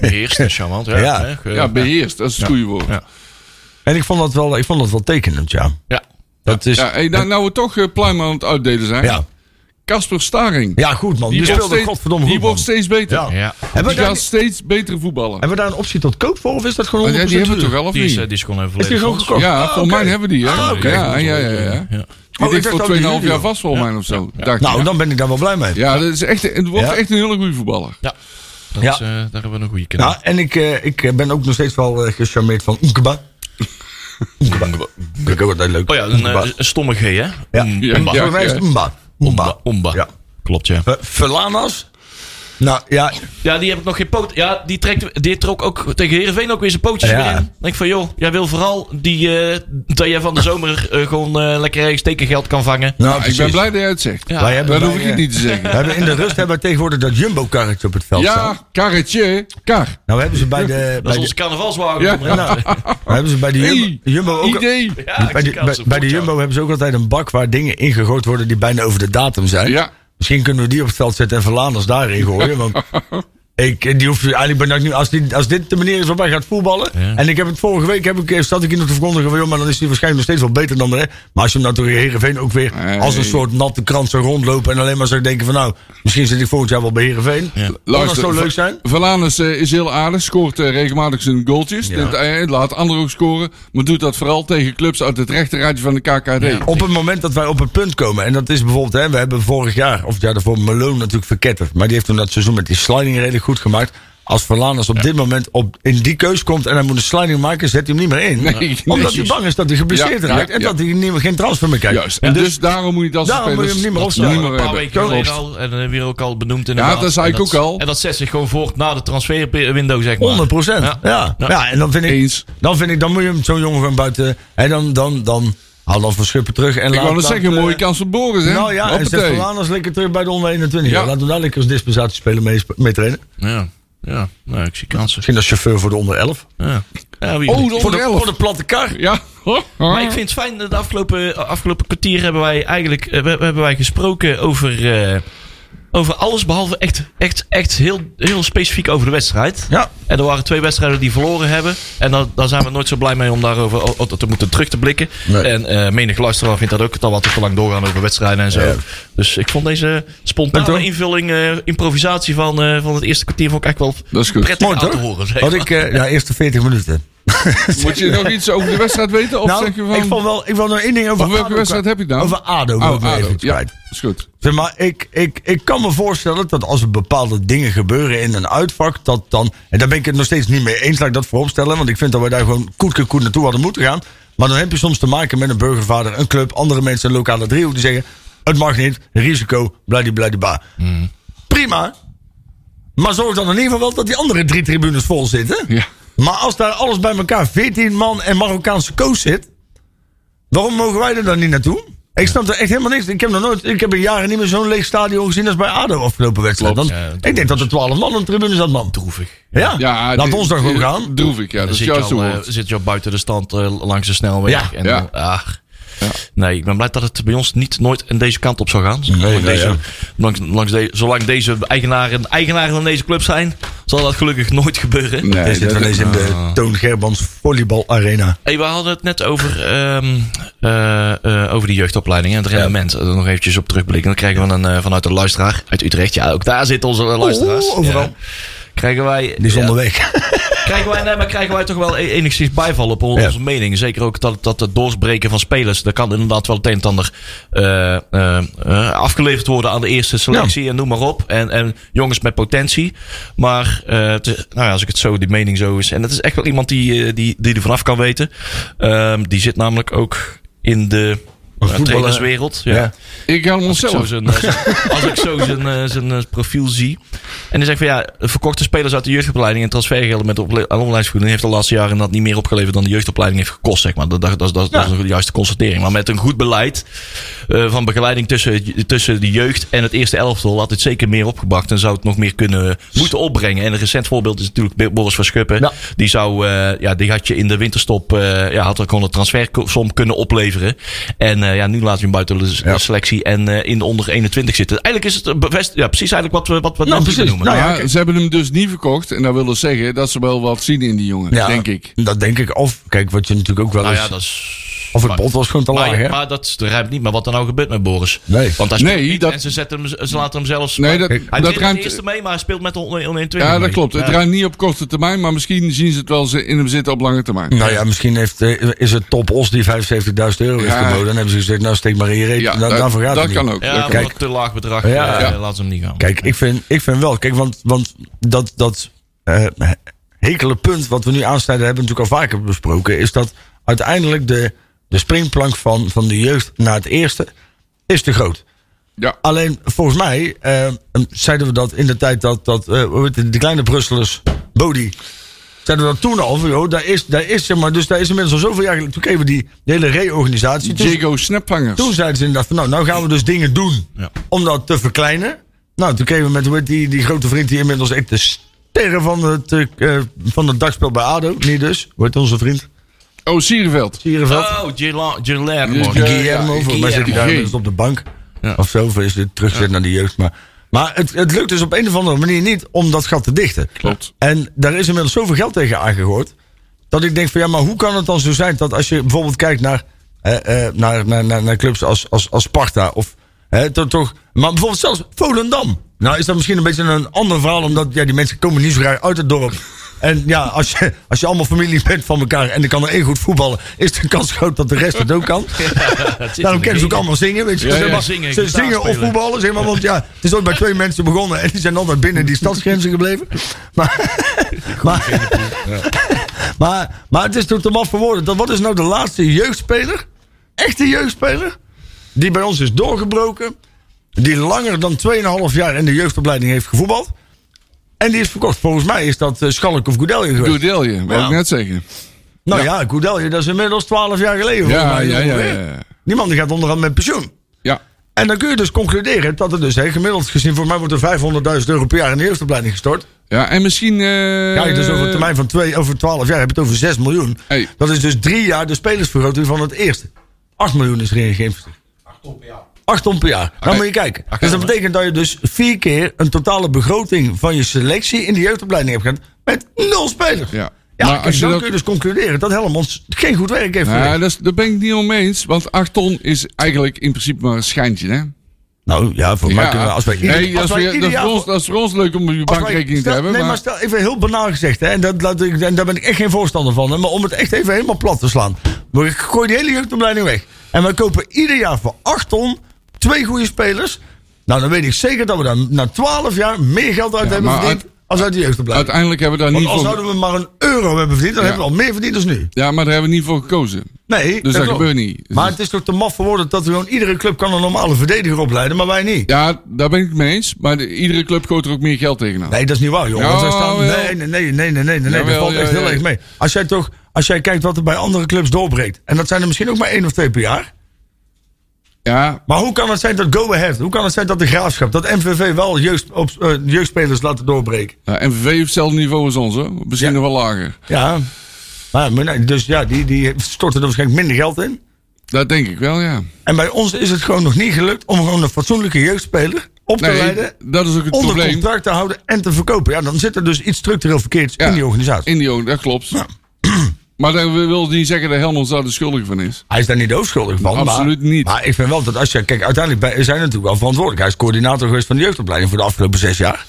Speaker 2: Beheerst en charmant. Ja,
Speaker 3: Ja.
Speaker 2: hè, ge-
Speaker 4: Ja, beheerst, dat is het goede woord.
Speaker 2: Ja.
Speaker 4: Ja.
Speaker 3: en ik vond dat wel, ik vond dat wel tekenend, ja.
Speaker 2: Ja.
Speaker 3: Dat is, ja.
Speaker 4: hey, nou, nou we toch eh, pluimen aan het uitdelen zijn.
Speaker 3: Ja.
Speaker 4: Casper Staring.
Speaker 3: goed man, die,
Speaker 4: die wordt
Speaker 3: speelde
Speaker 4: steeds,
Speaker 3: godverdomme
Speaker 4: die
Speaker 3: goed,
Speaker 4: wordt
Speaker 3: man.
Speaker 4: steeds beter.
Speaker 3: Ja.
Speaker 2: Ja.
Speaker 3: Hebben,
Speaker 4: Die
Speaker 3: we daar,
Speaker 4: gaat steeds betere voetballen.
Speaker 3: hebben we daar een optie tot koop voor, of is dat gewoon
Speaker 4: Want Oh, ja,
Speaker 3: 100%
Speaker 4: die hebben we
Speaker 3: huur?
Speaker 4: toch wel of
Speaker 2: Die is, eh,
Speaker 4: niet?
Speaker 2: die is gewoon even
Speaker 3: Is die
Speaker 2: volledig
Speaker 3: gewoon
Speaker 2: van ons.
Speaker 3: gekocht?
Speaker 4: Ja,
Speaker 3: Ah,
Speaker 4: voor
Speaker 3: oké.
Speaker 4: mij hebben we die, hè?
Speaker 3: Ah, oké.
Speaker 4: ja, ja, ja, ja. ja.
Speaker 2: Ja.
Speaker 4: Die
Speaker 3: ik
Speaker 4: ligt
Speaker 3: dacht dat
Speaker 4: voor
Speaker 3: die
Speaker 4: 2,5
Speaker 3: jullie
Speaker 4: jaar
Speaker 3: al-
Speaker 4: vast volgens mij of zo. Dacht ik,
Speaker 3: Nou,
Speaker 4: ja.
Speaker 3: dan ben ik daar wel blij mee.
Speaker 4: Ja, dat is echt, het wordt
Speaker 3: Ja.
Speaker 4: echt een hele goede voetballer.
Speaker 2: Ja. Dat,
Speaker 3: Ja.
Speaker 2: is, eh, daar hebben we een goede kanaal.
Speaker 3: Nou, en ik, eh, ik eh, ben ook nog steeds wel eh, gecharmeerd van Oenkeba. Oenkeba. Vind ik ook altijd leuk.
Speaker 2: Oh ja, een,
Speaker 3: Oenkeba.
Speaker 2: eh, een stomme G, hè?
Speaker 3: Ja.
Speaker 2: Mm,
Speaker 4: Ja,
Speaker 2: Omba.
Speaker 4: ja.
Speaker 3: Voor mij is het Oemba. Oemba.
Speaker 2: Omba. Omba.
Speaker 3: Ja.
Speaker 2: Klopt, ja.
Speaker 3: Eh, Velanas? Nou, ja.
Speaker 2: Ja, die heb ik nog geen poot. Ja, die, trekt, die trok ook tegen Heerenveen ook weer zijn pootjes
Speaker 3: Ja.
Speaker 2: weer in. Denk van, joh, jij wil vooral die, eh, dat jij van de zomer eh, gewoon eh, lekker ergens tekengeld kan vangen.
Speaker 3: Nou,
Speaker 4: ik
Speaker 3: precies.
Speaker 4: ben blij dat jij het zegt.
Speaker 2: Ja.
Speaker 3: Wij hebben,
Speaker 4: Dat hoef
Speaker 3: wij,
Speaker 4: ik het
Speaker 3: eh,
Speaker 4: niet te
Speaker 3: We
Speaker 4: zeggen.
Speaker 3: hebben in de rust hebben we tegenwoordig dat Jumbo-karretje op het veld staan.
Speaker 4: Ja, karretje, kar.
Speaker 3: Nou, hebben ze bij de...
Speaker 2: Dat
Speaker 3: Bij
Speaker 2: is
Speaker 3: de
Speaker 2: onze carnavalswagen.
Speaker 4: Ja.
Speaker 2: Tom, hè?
Speaker 3: nou, hebben ze bij de
Speaker 4: Hey,
Speaker 3: Jumbo, Jumbo ook...
Speaker 4: idee.
Speaker 2: Ja,
Speaker 3: bij, de, bij, bij de Jumbo hebben ze ook altijd een bak waar dingen ingegooid worden die bijna over de datum zijn.
Speaker 4: Ja.
Speaker 3: Misschien kunnen we die op het veld zetten en Verlanders daarin gooien. Want ik, die hoef, eigenlijk ben ik nu, als, die, als dit de manier is waarop hij gaat voetballen.
Speaker 2: Ja.
Speaker 3: En ik heb het vorige week, heb ik, eh, zat ik in te verkondigen van joh, maar dan is hij waarschijnlijk nog steeds wel beter dan de rest. Maar als je hem nou tegen Herenveen ook weer
Speaker 4: Nee.
Speaker 3: als een soort natte krant zou rondlopen. En alleen maar zou denken van nou, misschien zit ik volgend jaar wel bij Herenveen.
Speaker 2: Ja.
Speaker 3: Zou dat zo leuk zijn?
Speaker 4: Valanus eh, is heel aardig, scoort eh, regelmatig zijn goaltjes.
Speaker 3: Ja.
Speaker 4: Dit, eh, laat anderen ook scoren. Maar doet dat vooral tegen clubs uit het rechterraadje van de KKD.
Speaker 3: Op het moment dat wij op het punt komen, en dat is bijvoorbeeld, hè, we hebben vorig jaar, of het jaar daarvoor, Malone natuurlijk verketterd. Maar die heeft toen dat seizoen met die sliding redelijk goed gemaakt. Als Verlaners op dit moment op, in die keus komt en hij moet een sliding maken, zet hij hem niet meer in.
Speaker 4: Nee,
Speaker 3: Omdat
Speaker 4: nee.
Speaker 3: hij bang is dat hij geblesseerd
Speaker 4: Ja, ja,
Speaker 3: raakt en
Speaker 4: ja.
Speaker 3: dat hij niet meer, geen transfer meer krijgt.
Speaker 4: Juist. En dus, daarom moet je dat soort
Speaker 3: daarom moet je
Speaker 4: spelers
Speaker 3: hem niet meer opstellen.
Speaker 4: dat niet
Speaker 2: een paar weken
Speaker 4: hebben.
Speaker 2: geleden
Speaker 4: Klopt.
Speaker 2: al. En dan hebben we ook al benoemd in de
Speaker 4: Ja, dat zei ik ook al.
Speaker 2: En dat zet zich gewoon voort na de transferwindow, zeg maar.
Speaker 3: 100 procent.
Speaker 2: Ja.
Speaker 3: Ja. Ja.
Speaker 2: Ja.
Speaker 3: en dan vind ik,
Speaker 4: Eens.
Speaker 3: dan vind ik, dan moet je hem zo'n jongen gewoon buiten. En dan, dan, dan, haal dan van Schuppen terug. En
Speaker 4: Ik
Speaker 3: laat,
Speaker 4: wou net
Speaker 3: laat,
Speaker 4: zeggen,
Speaker 3: eh,
Speaker 4: mooie kans voor Boris, hè?
Speaker 3: Nou ja, en zet
Speaker 4: Hoppatee.
Speaker 3: Verlaners lekker terug bij de onder 21.
Speaker 4: Ja.
Speaker 3: Ja. Laat hem daar lekker als dispensatiespeler mee, mee trainen.
Speaker 2: Ja, ja. Nou, ik zie kansen.
Speaker 3: Misschien als chauffeur voor de onder 11.
Speaker 2: Ja. Ja, wie
Speaker 4: Oh,
Speaker 2: weet.
Speaker 4: de onder elf.
Speaker 3: platte kar.
Speaker 4: Ja.
Speaker 2: Maar ik vind het fijn, dat de afgelopen, eh, afgelopen kwartier hebben wij eigenlijk eh, we- we hebben wij gesproken over, eh, over alles behalve echt, echt, echt heel, heel specifiek over de wedstrijd.
Speaker 3: Ja.
Speaker 2: En er waren twee wedstrijden die verloren hebben. En dan, daar zijn we nooit zo blij mee om daarover o- o- te moeten terug te blikken.
Speaker 3: Nee.
Speaker 2: En eh menig luisteraar vindt dat ook het al wat te lang doorgaan over wedstrijden en zo. Dus ik vond deze
Speaker 3: Goed,
Speaker 2: spontane
Speaker 3: hoor.
Speaker 2: invulling, eh, improvisatie van, eh, van het eerste kwartier vond ik eigenlijk wel
Speaker 4: Dat is goed.
Speaker 2: prettig
Speaker 3: Mooi,
Speaker 2: aan
Speaker 3: toch?
Speaker 2: te horen. zeg
Speaker 3: Had
Speaker 2: maar.
Speaker 3: ik, eh, ja, eerste 40 minuten.
Speaker 4: Moet je nog iets over de wedstrijd weten? Of
Speaker 3: nou,
Speaker 4: zeg je van...
Speaker 3: ik vond wel, ik wil nog één ding over
Speaker 4: Over welke
Speaker 3: ADO
Speaker 4: wedstrijd
Speaker 3: kwijt.
Speaker 4: heb je het nou?
Speaker 3: Over ADO wil
Speaker 4: Oh,
Speaker 3: ik nog
Speaker 4: ADO.
Speaker 3: even iets
Speaker 4: Ja,
Speaker 3: kwijt.
Speaker 4: is goed.
Speaker 3: Zeg maar, ik, ik, ik kan me voorstellen dat als er bepaalde dingen gebeuren in een uitvak, dat dan, en daar ben ik het nog steeds niet mee eens, laat ik dat vooropstellen, want ik vind dat we daar gewoon koetke koet naartoe hadden moeten gaan. Maar dan heb je soms te maken met een burgervader, een club, andere mensen, een lokale driehoek die zeggen, het mag niet, risico, bladibladibla. Prima, maar zorg dan in ieder geval wel dat die andere drie tribunes vol zitten.
Speaker 4: Ja.
Speaker 3: Maar als daar alles bij elkaar, 14 man en Marokkaanse coach zit, waarom mogen wij er dan niet naartoe? Ik snap er echt helemaal niks. Ik heb nog nooit, ik heb in jaren niet meer zo'n leeg stadion gezien als bij ADO afgelopen wedstrijd.
Speaker 2: Klopt,
Speaker 3: Dan-
Speaker 2: ja,
Speaker 3: ik denk dat er 12 man op de tribune zat, man.
Speaker 2: droevig.
Speaker 3: Ja,
Speaker 4: Ja,
Speaker 3: laat
Speaker 4: dit-
Speaker 3: ons dan gewoon
Speaker 4: dit-
Speaker 3: gaan.
Speaker 4: Droevig, ja.
Speaker 2: Dan
Speaker 4: Dat is
Speaker 2: zit, je
Speaker 4: juist
Speaker 2: al,
Speaker 4: een
Speaker 2: eh,
Speaker 4: woord.
Speaker 2: zit je al buiten de stand eh, langs de snelweg.
Speaker 3: Ja.
Speaker 2: en
Speaker 4: Ja.
Speaker 2: dan- ah. Nee, ik ben blij dat het bij ons niet nooit aan deze kant op zou gaan. Zolang
Speaker 3: nee,
Speaker 2: deze,
Speaker 3: ja.
Speaker 2: langs, langs de- zolang deze eigenaren, eigenaren van deze club zijn, zal dat gelukkig nooit gebeuren.
Speaker 4: Nee,
Speaker 3: Hij zit
Speaker 4: dat-
Speaker 3: wel eens in de Toon Gerbrands volleybalarena.
Speaker 2: Hey, we hadden het net over, ehm, eh, eh, over die jeugdopleiding en het rendement. Eh, nog eventjes op terugblikken. Dan krijgen we een, eh, vanuit de luisteraar uit Utrecht. Ja, ook daar zitten onze eh, luisteraars.
Speaker 3: Oeh, overal.
Speaker 2: Ja. Krijgen wij,
Speaker 3: Die is
Speaker 2: ja,
Speaker 3: onderweg.
Speaker 2: krijgen wij, nee, maar krijgen wij toch wel e- enigszins bijval op on-
Speaker 3: Ja.
Speaker 2: onze mening. Zeker ook dat, dat het doorsbreken van spelers. Dat kan inderdaad wel het een en ander eh, eh, eh, afgeleverd worden aan de eerste selectie. En noem maar op. En, en jongens met potentie. Maar eh, het is- nou ja, als ik het zo, die mening zo is. En dat is echt wel iemand die, eh, die, die er vanaf kan weten. Ehm, die zit namelijk ook in de eh,
Speaker 3: voetballer.
Speaker 2: trainerswereld. Ja.
Speaker 3: Ja.
Speaker 4: Ik ga hem
Speaker 2: Als ik zo
Speaker 4: onszelf.
Speaker 2: zijn, eh, als ik zo zijn, eh, zijn eh, profiel zie. En dan zeg ik van ja, verkochte spelers uit de jeugdopleiding en transfergelden met de ople- aan opleidingsvergoeding heeft de laatste jaren dat niet meer opgeleverd dan de jeugdopleiding heeft gekost. Zeg maar. dat, dat, dat, dat, dat is een juiste constatering. Maar met een goed beleid eh, van begeleiding tussen, tussen de jeugd en het eerste elftal had dit zeker meer opgebracht en zou het nog meer kunnen eh, moeten opbrengen. En een recent voorbeeld is natuurlijk Boris van Schuppen.
Speaker 3: Ja.
Speaker 2: Die zou, eh, ja, die had je in de winterstop, eh, ja, had er gewoon een transfersom kunnen opleveren. En eh, ja, nu laat je hem buiten de
Speaker 3: Ja.
Speaker 2: selectie en eh, in de onder 21 zitten. Eigenlijk is het een bevest, ja, precies eigenlijk wat we, wat we
Speaker 3: Nou,
Speaker 2: net
Speaker 3: precies.
Speaker 2: noemen.
Speaker 3: Nou,
Speaker 4: Maar
Speaker 3: ja, oké.
Speaker 4: ze hebben hem dus niet verkocht. En dat wil dus zeggen dat ze wel wat zien in die jongen,
Speaker 3: Ja.
Speaker 4: denk ik.
Speaker 3: Dat denk ik. Of, kijk, wat je natuurlijk ook wel
Speaker 2: nou
Speaker 3: eens...
Speaker 2: ja, dat is...
Speaker 3: dus of het pot was gewoon te laag,
Speaker 2: Maar,
Speaker 3: hè?
Speaker 2: maar dat ruimt niet met wat er nou gebeurt met Boris.
Speaker 3: Nee.
Speaker 2: Want hij speelt
Speaker 4: Nee,
Speaker 2: niet
Speaker 4: dat-
Speaker 2: en ze, zetten hem, ze laten hem zelfs...
Speaker 4: Nee, dat,
Speaker 2: hij
Speaker 4: dat
Speaker 2: zit als
Speaker 4: ruimt.
Speaker 2: eerste mee, maar hij speelt met de onder 21
Speaker 4: Ja, dat
Speaker 2: mee.
Speaker 4: klopt. Het
Speaker 2: Ja.
Speaker 4: ruimt niet op korte termijn, maar misschien zien ze het wel ze- in hem zitten op lange termijn.
Speaker 3: Nou ja, misschien heeft, eh, is het Top Os die 75.000 euro heeft
Speaker 4: Ja.
Speaker 3: geboden. Dan hebben ze gezegd, nou steek maar in je reet.
Speaker 4: Ja,
Speaker 3: Da-
Speaker 4: dat-
Speaker 3: daarvoor gaat
Speaker 4: dat
Speaker 3: het
Speaker 4: kan
Speaker 3: niet.
Speaker 4: ook.
Speaker 2: Ja,
Speaker 4: Dat
Speaker 2: voor
Speaker 3: Kijk.
Speaker 2: een te laag bedrag.
Speaker 3: Ja.
Speaker 2: Ja,
Speaker 4: Ja.
Speaker 2: Laten ze hem niet gaan.
Speaker 3: Kijk, ik vind, ik vind wel. Kijk, want, want dat, dat eh, hekele punt wat we nu aansnijden... hebben we natuurlijk al vaker besproken... is dat uiteindelijk de, de springplank van, van de jeugd naar het eerste... is te groot.
Speaker 4: Ja.
Speaker 3: Alleen volgens mij eh, zeiden we dat in de tijd dat, dat eh, hoe heet het, die kleine Brusselers, Bodie. Zeiden we dat toen al, van, joh, daar is, daar is, zeg maar, dus daar is inmiddels al zoveel jaar geleden. Toen kregen we die, die hele reorganisatie. Toen,
Speaker 4: Diego Snapvangers.
Speaker 3: toen zeiden ze inderdaad van, nou, nou gaan we dus dingen doen
Speaker 2: Ja.
Speaker 3: om dat te verkleinen. Nou, toen kregen we met hoe heet die, die grote vriend die inmiddels echt de sterren van het, eh, van het dagspel bij ADO. Niet dus, wordt onze vriend.
Speaker 4: Oh, Sierenveld.
Speaker 3: Sierenveld.
Speaker 2: Oh, Gila- Guillermo.
Speaker 4: Ja,
Speaker 3: Guillermo,
Speaker 4: ja,
Speaker 3: volgens mij zit hij daar
Speaker 4: Guillermo.
Speaker 3: inmiddels op de bank.
Speaker 2: Ja.
Speaker 3: Of zo, of is het terugzet naar de jeugd. Maar, maar het, het lukt dus op een of andere manier niet om dat gat te dichten.
Speaker 4: Klopt.
Speaker 3: En daar is inmiddels zoveel geld tegen aangegooid. Dat ik denk van ja, maar hoe kan het dan zo zijn dat als je bijvoorbeeld kijkt naar, eh, eh, naar, naar, naar, naar clubs als, als, als Sparta of hè, toch, toch, maar bijvoorbeeld zelfs Volendam. Nou is dat misschien een beetje een ander verhaal, omdat ja, die mensen komen niet zo graag uit het dorp. En ja, als je, als je allemaal familie bent van elkaar en er kan er één goed voetballen, is de kans groot dat de rest het ook kan. Daarom kennen ze ook allemaal zingen. Weet je.
Speaker 2: Ja,
Speaker 3: Ze
Speaker 2: ja.
Speaker 3: maar-
Speaker 2: Zingen,
Speaker 3: ze
Speaker 2: gitaar
Speaker 3: zingen of
Speaker 2: spelen.
Speaker 3: voetballen, zeg maar. Want ja, het is ooit bij twee mensen begonnen. En die zijn altijd binnen die stadsgrenzen gebleven. Maar, maar, maar, maar het is toch te maf voor woorden. Dat, wat is nou de laatste jeugdspeler? Echte jeugdspeler? Die bij ons is doorgebroken. Die langer dan 2,5 jaar in de jeugdopleiding heeft gevoetbald. En die is verkocht. Volgens mij is dat eh, Schalk of Goedelje geweest.
Speaker 4: Goedelje, wou ik net zeggen.
Speaker 3: nou ja, Goedelje, dat is inmiddels 12 jaar geleden. volgens
Speaker 4: Ja,
Speaker 3: mij,
Speaker 4: ja, ja.
Speaker 3: ongeveer.
Speaker 4: ja.
Speaker 3: Die man die gaat onderhand met pensioen.
Speaker 4: Ja,
Speaker 3: En dan kun je dus concluderen dat er dus hè, gemiddeld gezien voor mij wordt er 500.000 euro per jaar in de jeugdopleiding gestort.
Speaker 4: ja en misschien... eh,
Speaker 3: Kijk, dus over een termijn van twee, over 12 jaar heb je het over 6 miljoen.
Speaker 4: Hey.
Speaker 3: Dat is dus drie jaar de spelersvergroting van het eerste. 8 miljoen is erin geïnvesteerd. 8 ton per jaar. 8 ton per jaar. Dan moet je kijken. dus dat betekent dat je dus vier keer een totale begroting van je selectie in de jeugdopleiding hebt gehad. Met nul spelers.
Speaker 4: Ja.
Speaker 3: Ja,
Speaker 4: Maar
Speaker 3: kijk,
Speaker 4: als je
Speaker 3: dan
Speaker 4: dat-
Speaker 3: kun je dus concluderen dat Helmonds geen goed werk heeft
Speaker 4: Nou,
Speaker 3: verricht.
Speaker 4: dat, is- daar ben ik niet mee eens. Want 8 ton is eigenlijk in principe maar een schijntje, hè?
Speaker 3: Nou ja, voor mij kunnen we als wij ieder,
Speaker 4: Nee,
Speaker 3: als
Speaker 4: als
Speaker 3: wij
Speaker 4: we-
Speaker 3: ieder
Speaker 4: dat, is
Speaker 3: jaar
Speaker 4: voor ons, dat is voor ons leuk om je
Speaker 3: Als wij-
Speaker 4: bankrekening te
Speaker 3: stel-
Speaker 4: hebben.
Speaker 3: Nee, maar
Speaker 4: maar,
Speaker 3: stel, even heel banaal gezegd, hè, en, dat, dat, ik- en daar ben ik echt geen voorstander van. Hè, maar om het echt even helemaal plat te slaan. We gooien die hele jeugdopleiding weg. En we kopen ieder jaar voor 8 ton twee goede spelers. Nou, dan weet ik zeker dat we daar na 12 jaar meer geld uit
Speaker 4: Ja,
Speaker 3: hebben
Speaker 4: maar
Speaker 3: verdiend. als uit de jeugdopleiding.
Speaker 4: uiteindelijk hebben we daar
Speaker 3: Want
Speaker 4: niet
Speaker 3: als
Speaker 4: voor...
Speaker 3: zouden we maar een euro hebben verdiend, dan
Speaker 4: Ja.
Speaker 3: hebben we al meer verdiend dan nu.
Speaker 4: Ja, maar daar hebben we niet voor gekozen.
Speaker 3: Nee,
Speaker 4: Dus dat,
Speaker 3: klopt.
Speaker 4: gebeurt niet. Dus-
Speaker 3: Maar het is toch te maf voor woorden dat we gewoon iedere club kan een normale verdediger opleiden, maar wij niet.
Speaker 4: ja, daar ben ik het mee eens. Maar de- iedere club gooit er ook meer geld tegenaan.
Speaker 3: Nee, dat is niet waar, jongen. Want wij staan,
Speaker 4: Jawel.
Speaker 3: nee, nee, nee, nee, nee, nee, nee, dat
Speaker 4: Jawel,
Speaker 3: valt echt
Speaker 4: ja,
Speaker 3: heel
Speaker 4: ja.
Speaker 3: erg mee. Als jij toch, als jij kijkt wat er bij andere clubs doorbreekt, en dat zijn er misschien ook maar één of twee per jaar.
Speaker 4: Ja,
Speaker 3: Maar hoe kan het zijn dat Go Ahead, hoe kan het zijn dat de Graafschap, dat MVV wel jeugd, op, eh, jeugdspelers laten doorbreken?
Speaker 4: Ja, MVV heeft hetzelfde niveau als ons, hoor. Misschien nog wel lager.
Speaker 3: Ja. Maar, maar nee, dus ja, die, die storten er waarschijnlijk minder geld in.
Speaker 4: Dat denk ik wel, ja.
Speaker 3: En bij ons is het gewoon nog niet gelukt om gewoon een fatsoenlijke jeugdspeler op te leiden,
Speaker 4: dat is ook het
Speaker 3: onder
Speaker 4: probleem.
Speaker 3: contract te houden en te verkopen. Ja, dan zit er dus iets structureel verkeerds
Speaker 4: Ja,
Speaker 3: in die organisatie.
Speaker 4: In die or- dat klopt. maar dat wil niet zeggen dat Helmond daar de schuldige van is.
Speaker 3: Hij is daar niet de hoofdschuldig van.
Speaker 4: Absoluut
Speaker 3: maar,
Speaker 4: niet.
Speaker 3: Maar ik vind wel dat als je... Kijk, uiteindelijk ben- zijn we natuurlijk wel verantwoordelijk. Hij is coördinator geweest van de jeugdopleiding voor de afgelopen zes jaar.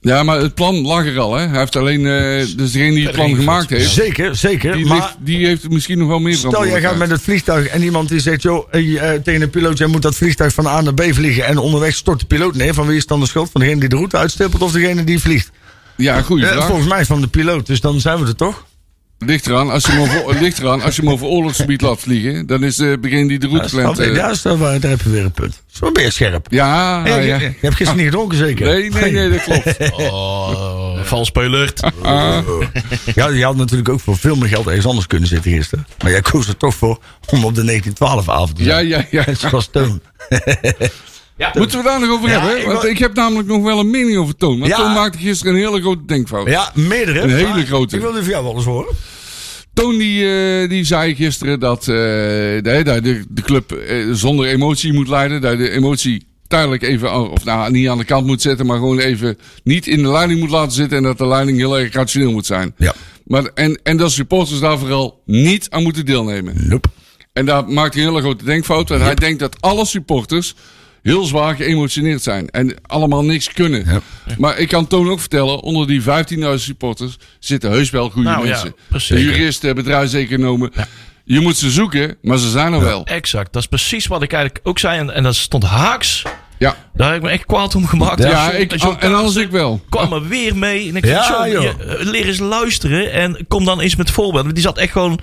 Speaker 4: Ja, maar het plan lag er al, hè. Hij heeft alleen... eh, dus degene die het plan gemaakt heeft,
Speaker 3: Zeker, zeker.
Speaker 4: die,
Speaker 3: maar
Speaker 4: ligt- die heeft misschien nog wel meer
Speaker 3: stel, jij gaat met het vliegtuig en iemand die zegt... joh, eh, eh, tegen een piloot, jij moet dat vliegtuig van A naar B vliegen. En onderweg stort de piloot neer. Van wie is dan de schuld? Van degene die de route uitstippelt of degene die vliegt?
Speaker 4: Ja, goeie
Speaker 3: Eh,
Speaker 4: vraag.
Speaker 3: volgens mij van de piloot. Dus dan zijn we er toch?
Speaker 4: Ligt eraan, als je hem over, ligt eraan, als je hem over oorlogsgebied laat vliegen, dan is eh degene die de route plant... eh,
Speaker 3: ja, stel, daar heb je weer een punt. Zo ben je scherp. Ja,
Speaker 4: ja, ja,
Speaker 3: Je,
Speaker 4: ja.
Speaker 3: je hebt gisteren niet gedronken, zeker?
Speaker 4: Nee, nee, nee, dat klopt.
Speaker 2: Oh, vals speulert.
Speaker 3: Ja, je had natuurlijk ook voor veel meer geld ergens anders kunnen zitten gisteren. Maar jij koos er toch voor om op de 1912-avond te
Speaker 4: Ja,
Speaker 3: zijn.
Speaker 4: ja, ja.
Speaker 3: Zoals Toon.
Speaker 4: Moeten we daar nog over
Speaker 3: Ja,
Speaker 4: hebben?
Speaker 3: ik
Speaker 4: Want
Speaker 3: wou-
Speaker 4: ik heb namelijk nog wel een mening over Toon. Want
Speaker 3: Ja.
Speaker 4: Toon maakte gisteren een hele grote denkfout.
Speaker 3: Ja, meerdere.
Speaker 4: Een hele
Speaker 3: maar
Speaker 4: grote.
Speaker 3: Ik wilde van jou wel eens horen.
Speaker 4: Toon die, eh, die zei gisteren dat, eh, de, dat de, de club eh, zonder emotie moet leiden. Dat je de emotie tijdelijk even, aan- of nou, niet aan de kant moet zetten, maar gewoon even niet in de leiding moet laten zitten. En dat de leiding heel erg rationeel moet zijn.
Speaker 3: Ja.
Speaker 4: Maar, en, en dat supporters daar vooral niet aan moeten deelnemen.
Speaker 3: Nope.
Speaker 4: En daar maakt hij een hele grote denkfout. Want hij denkt dat alle supporters heel zwaar geëmotioneerd zijn. En allemaal niks kunnen. Maar ik kan Toon ook vertellen, onder die 15.000 supporters zitten heus wel goede
Speaker 2: Nou ja,
Speaker 4: mensen.
Speaker 2: precies.
Speaker 4: Juristen, bedrijfseconomen. Je moet ze zoeken, maar ze zijn er wel.
Speaker 2: Exact. Dat is precies wat ik eigenlijk ook zei. En, en dat stond haaks.
Speaker 4: Ja,
Speaker 2: Daar heb ik me echt kwaad om gemaakt.
Speaker 4: ja,
Speaker 2: Als je-
Speaker 4: ik,
Speaker 2: als je-
Speaker 4: en anders ik wel.
Speaker 2: kwam er weer mee. En ik
Speaker 3: Ja,
Speaker 2: dacht, zo,
Speaker 3: joh.
Speaker 2: je, eh, leer eens luisteren en kom dan eens met voorbeelden. Want Die zat echt gewoon...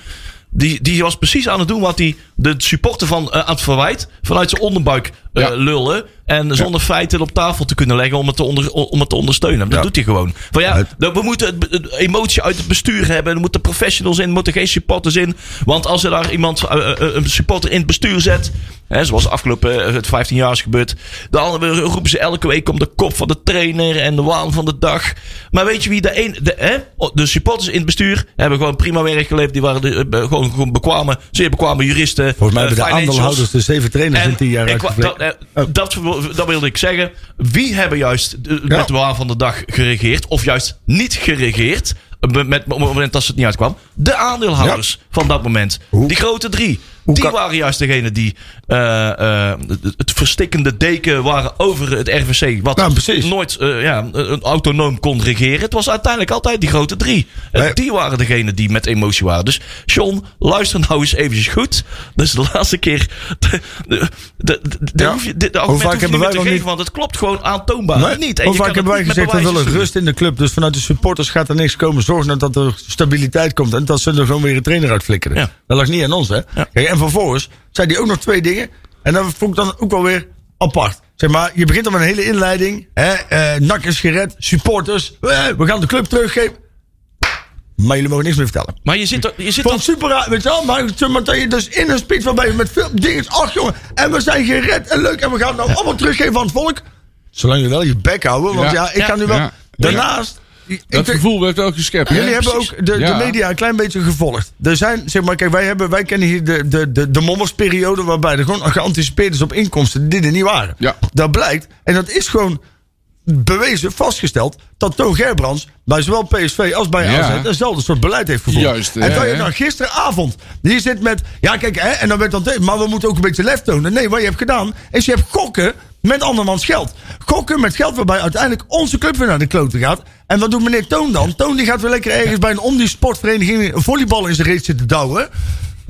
Speaker 2: Die, die was precies aan het doen wat hij de supporter van eh, aan het verwijt. Vanuit zijn onderbuik eh,
Speaker 4: Ja.
Speaker 2: lullen. En zonder feiten op tafel te kunnen leggen om het te, onder, om het te ondersteunen. Dat
Speaker 3: Ja.
Speaker 2: doet hij gewoon. Van ja,
Speaker 3: Het-
Speaker 2: dat- we moeten het, het emotie uit het bestuur hebben. Er moeten professionals in, er moeten geen supporters in. Want als er daar iemand, eh, eh, een supporter in het bestuur zet. Hè, zoals de afgelopen eh, het 15 jaar is gebeurd. Dan roepen ze elke week om de kop van de trainer en de waan van de dag. Maar weet je wie de een. De, hè? de supporters in het bestuur hebben gewoon prima werk geleverd. Die waren de, eh, be- gewoon, gewoon bekwame, zeer bekwame juristen.
Speaker 3: Volgens mij
Speaker 2: eh,
Speaker 3: hebben de
Speaker 2: financials.
Speaker 3: aandeelhouders de zeven trainers in tien jaar Oh.
Speaker 2: ik wou-
Speaker 3: uitgeflikt.
Speaker 2: dat, eh, dat, wil- dat wilde ik zeggen. Wie hebben juist de-
Speaker 3: Ja.
Speaker 2: met de waar van de dag geregeerd? Of juist niet geregeerd? eh, Met, met, op het moment dat ze het niet uitkwam. De aandeelhouders van dat moment.
Speaker 3: Hoe-
Speaker 2: die grote drie. die
Speaker 3: kan-
Speaker 2: waren juist degene die eh, eh, het verstikkende deken waren over het RVC. Wat
Speaker 3: Nou, precies.
Speaker 2: nooit eh, ja, een autonoom kon regeren. Het was uiteindelijk altijd die grote drie. En
Speaker 3: Nee.
Speaker 2: die waren degene die met emotie waren. Dus John, luister nou eens eventjes goed. Dat is de laatste keer. De, de, de, de-
Speaker 3: Ja.
Speaker 2: hoef je, de, de
Speaker 3: Hoe
Speaker 2: argument hoef
Speaker 3: vaak
Speaker 2: je niet meer
Speaker 3: hebben wij
Speaker 2: te
Speaker 3: nog
Speaker 2: geven,
Speaker 3: niet-
Speaker 2: want het klopt gewoon aantoonbaar niet. En
Speaker 3: Hoe
Speaker 2: je kan
Speaker 3: vaak
Speaker 2: het
Speaker 3: hebben wij
Speaker 2: niet met
Speaker 3: gezegd, we
Speaker 2: bewijzen
Speaker 3: willen
Speaker 2: doen.
Speaker 3: rust in de club. Dus vanuit de supporters gaat er niks komen. Zorg nou dat er stabiliteit komt. En dat ze er gewoon weer een trainer uit flikkeren.
Speaker 2: Ja.
Speaker 3: Dat lag niet aan ons, hè. Kijk, en vervolgens zei hij ook nog twee dingen. En dat vond ik dan ook wel weer apart. Zeg maar, je begint dan met een hele inleiding. Hè, eh, NAC is gered, supporters. eh, we gaan de club teruggeven. Maar jullie mogen niks meer vertellen.
Speaker 2: Maar je zit, er- je zit
Speaker 3: Van
Speaker 2: dan...
Speaker 3: super raar, weet je wel, maar, zeg maar dat je dus in een speech van bij met veel dingen. Ach jongen, en we zijn gered en leuk en we gaan het nou allemaal teruggeven aan het volk. Zolang je wel je bek houden, want ja,
Speaker 4: Ja.
Speaker 3: ik ga nu wel.
Speaker 4: Ja.
Speaker 3: Daarnaast, ik
Speaker 4: Dat
Speaker 3: vind-
Speaker 4: gevoel werd wel geschept. hè?
Speaker 3: jullie hebben
Speaker 4: Precies.
Speaker 3: ook de,
Speaker 4: Ja.
Speaker 3: de media een klein beetje gevolgd. Er zijn, zeg maar, kijk, wij, hebben, wij kennen hier de, de, de, de mommersperiode waarbij er gewoon geanticipeerd is op inkomsten die er niet waren.
Speaker 4: Ja.
Speaker 3: Dat blijkt, en dat is gewoon bewezen, vastgesteld, dat Toon Gerbrands bij zowel PSV als bij
Speaker 4: Ja.
Speaker 3: AZ eenzelfde soort beleid heeft gevoerd.
Speaker 4: Juist,
Speaker 3: en dat
Speaker 4: ja,
Speaker 3: je nou
Speaker 4: hè?
Speaker 3: dan gisteravond hier zit met, ja kijk, hè, en dan werd dan, tegen, maar we moeten ook een beetje lef tonen. Nee, wat je hebt gedaan, is je hebt gokken met andermans geld. Gokken met geld waarbij uiteindelijk onze club weer naar de klote gaat. En wat doet meneer Toon dan? Toon die gaat weer lekker ergens bij een om die sportvereniging een volleybal in zijn reet zitten douwen.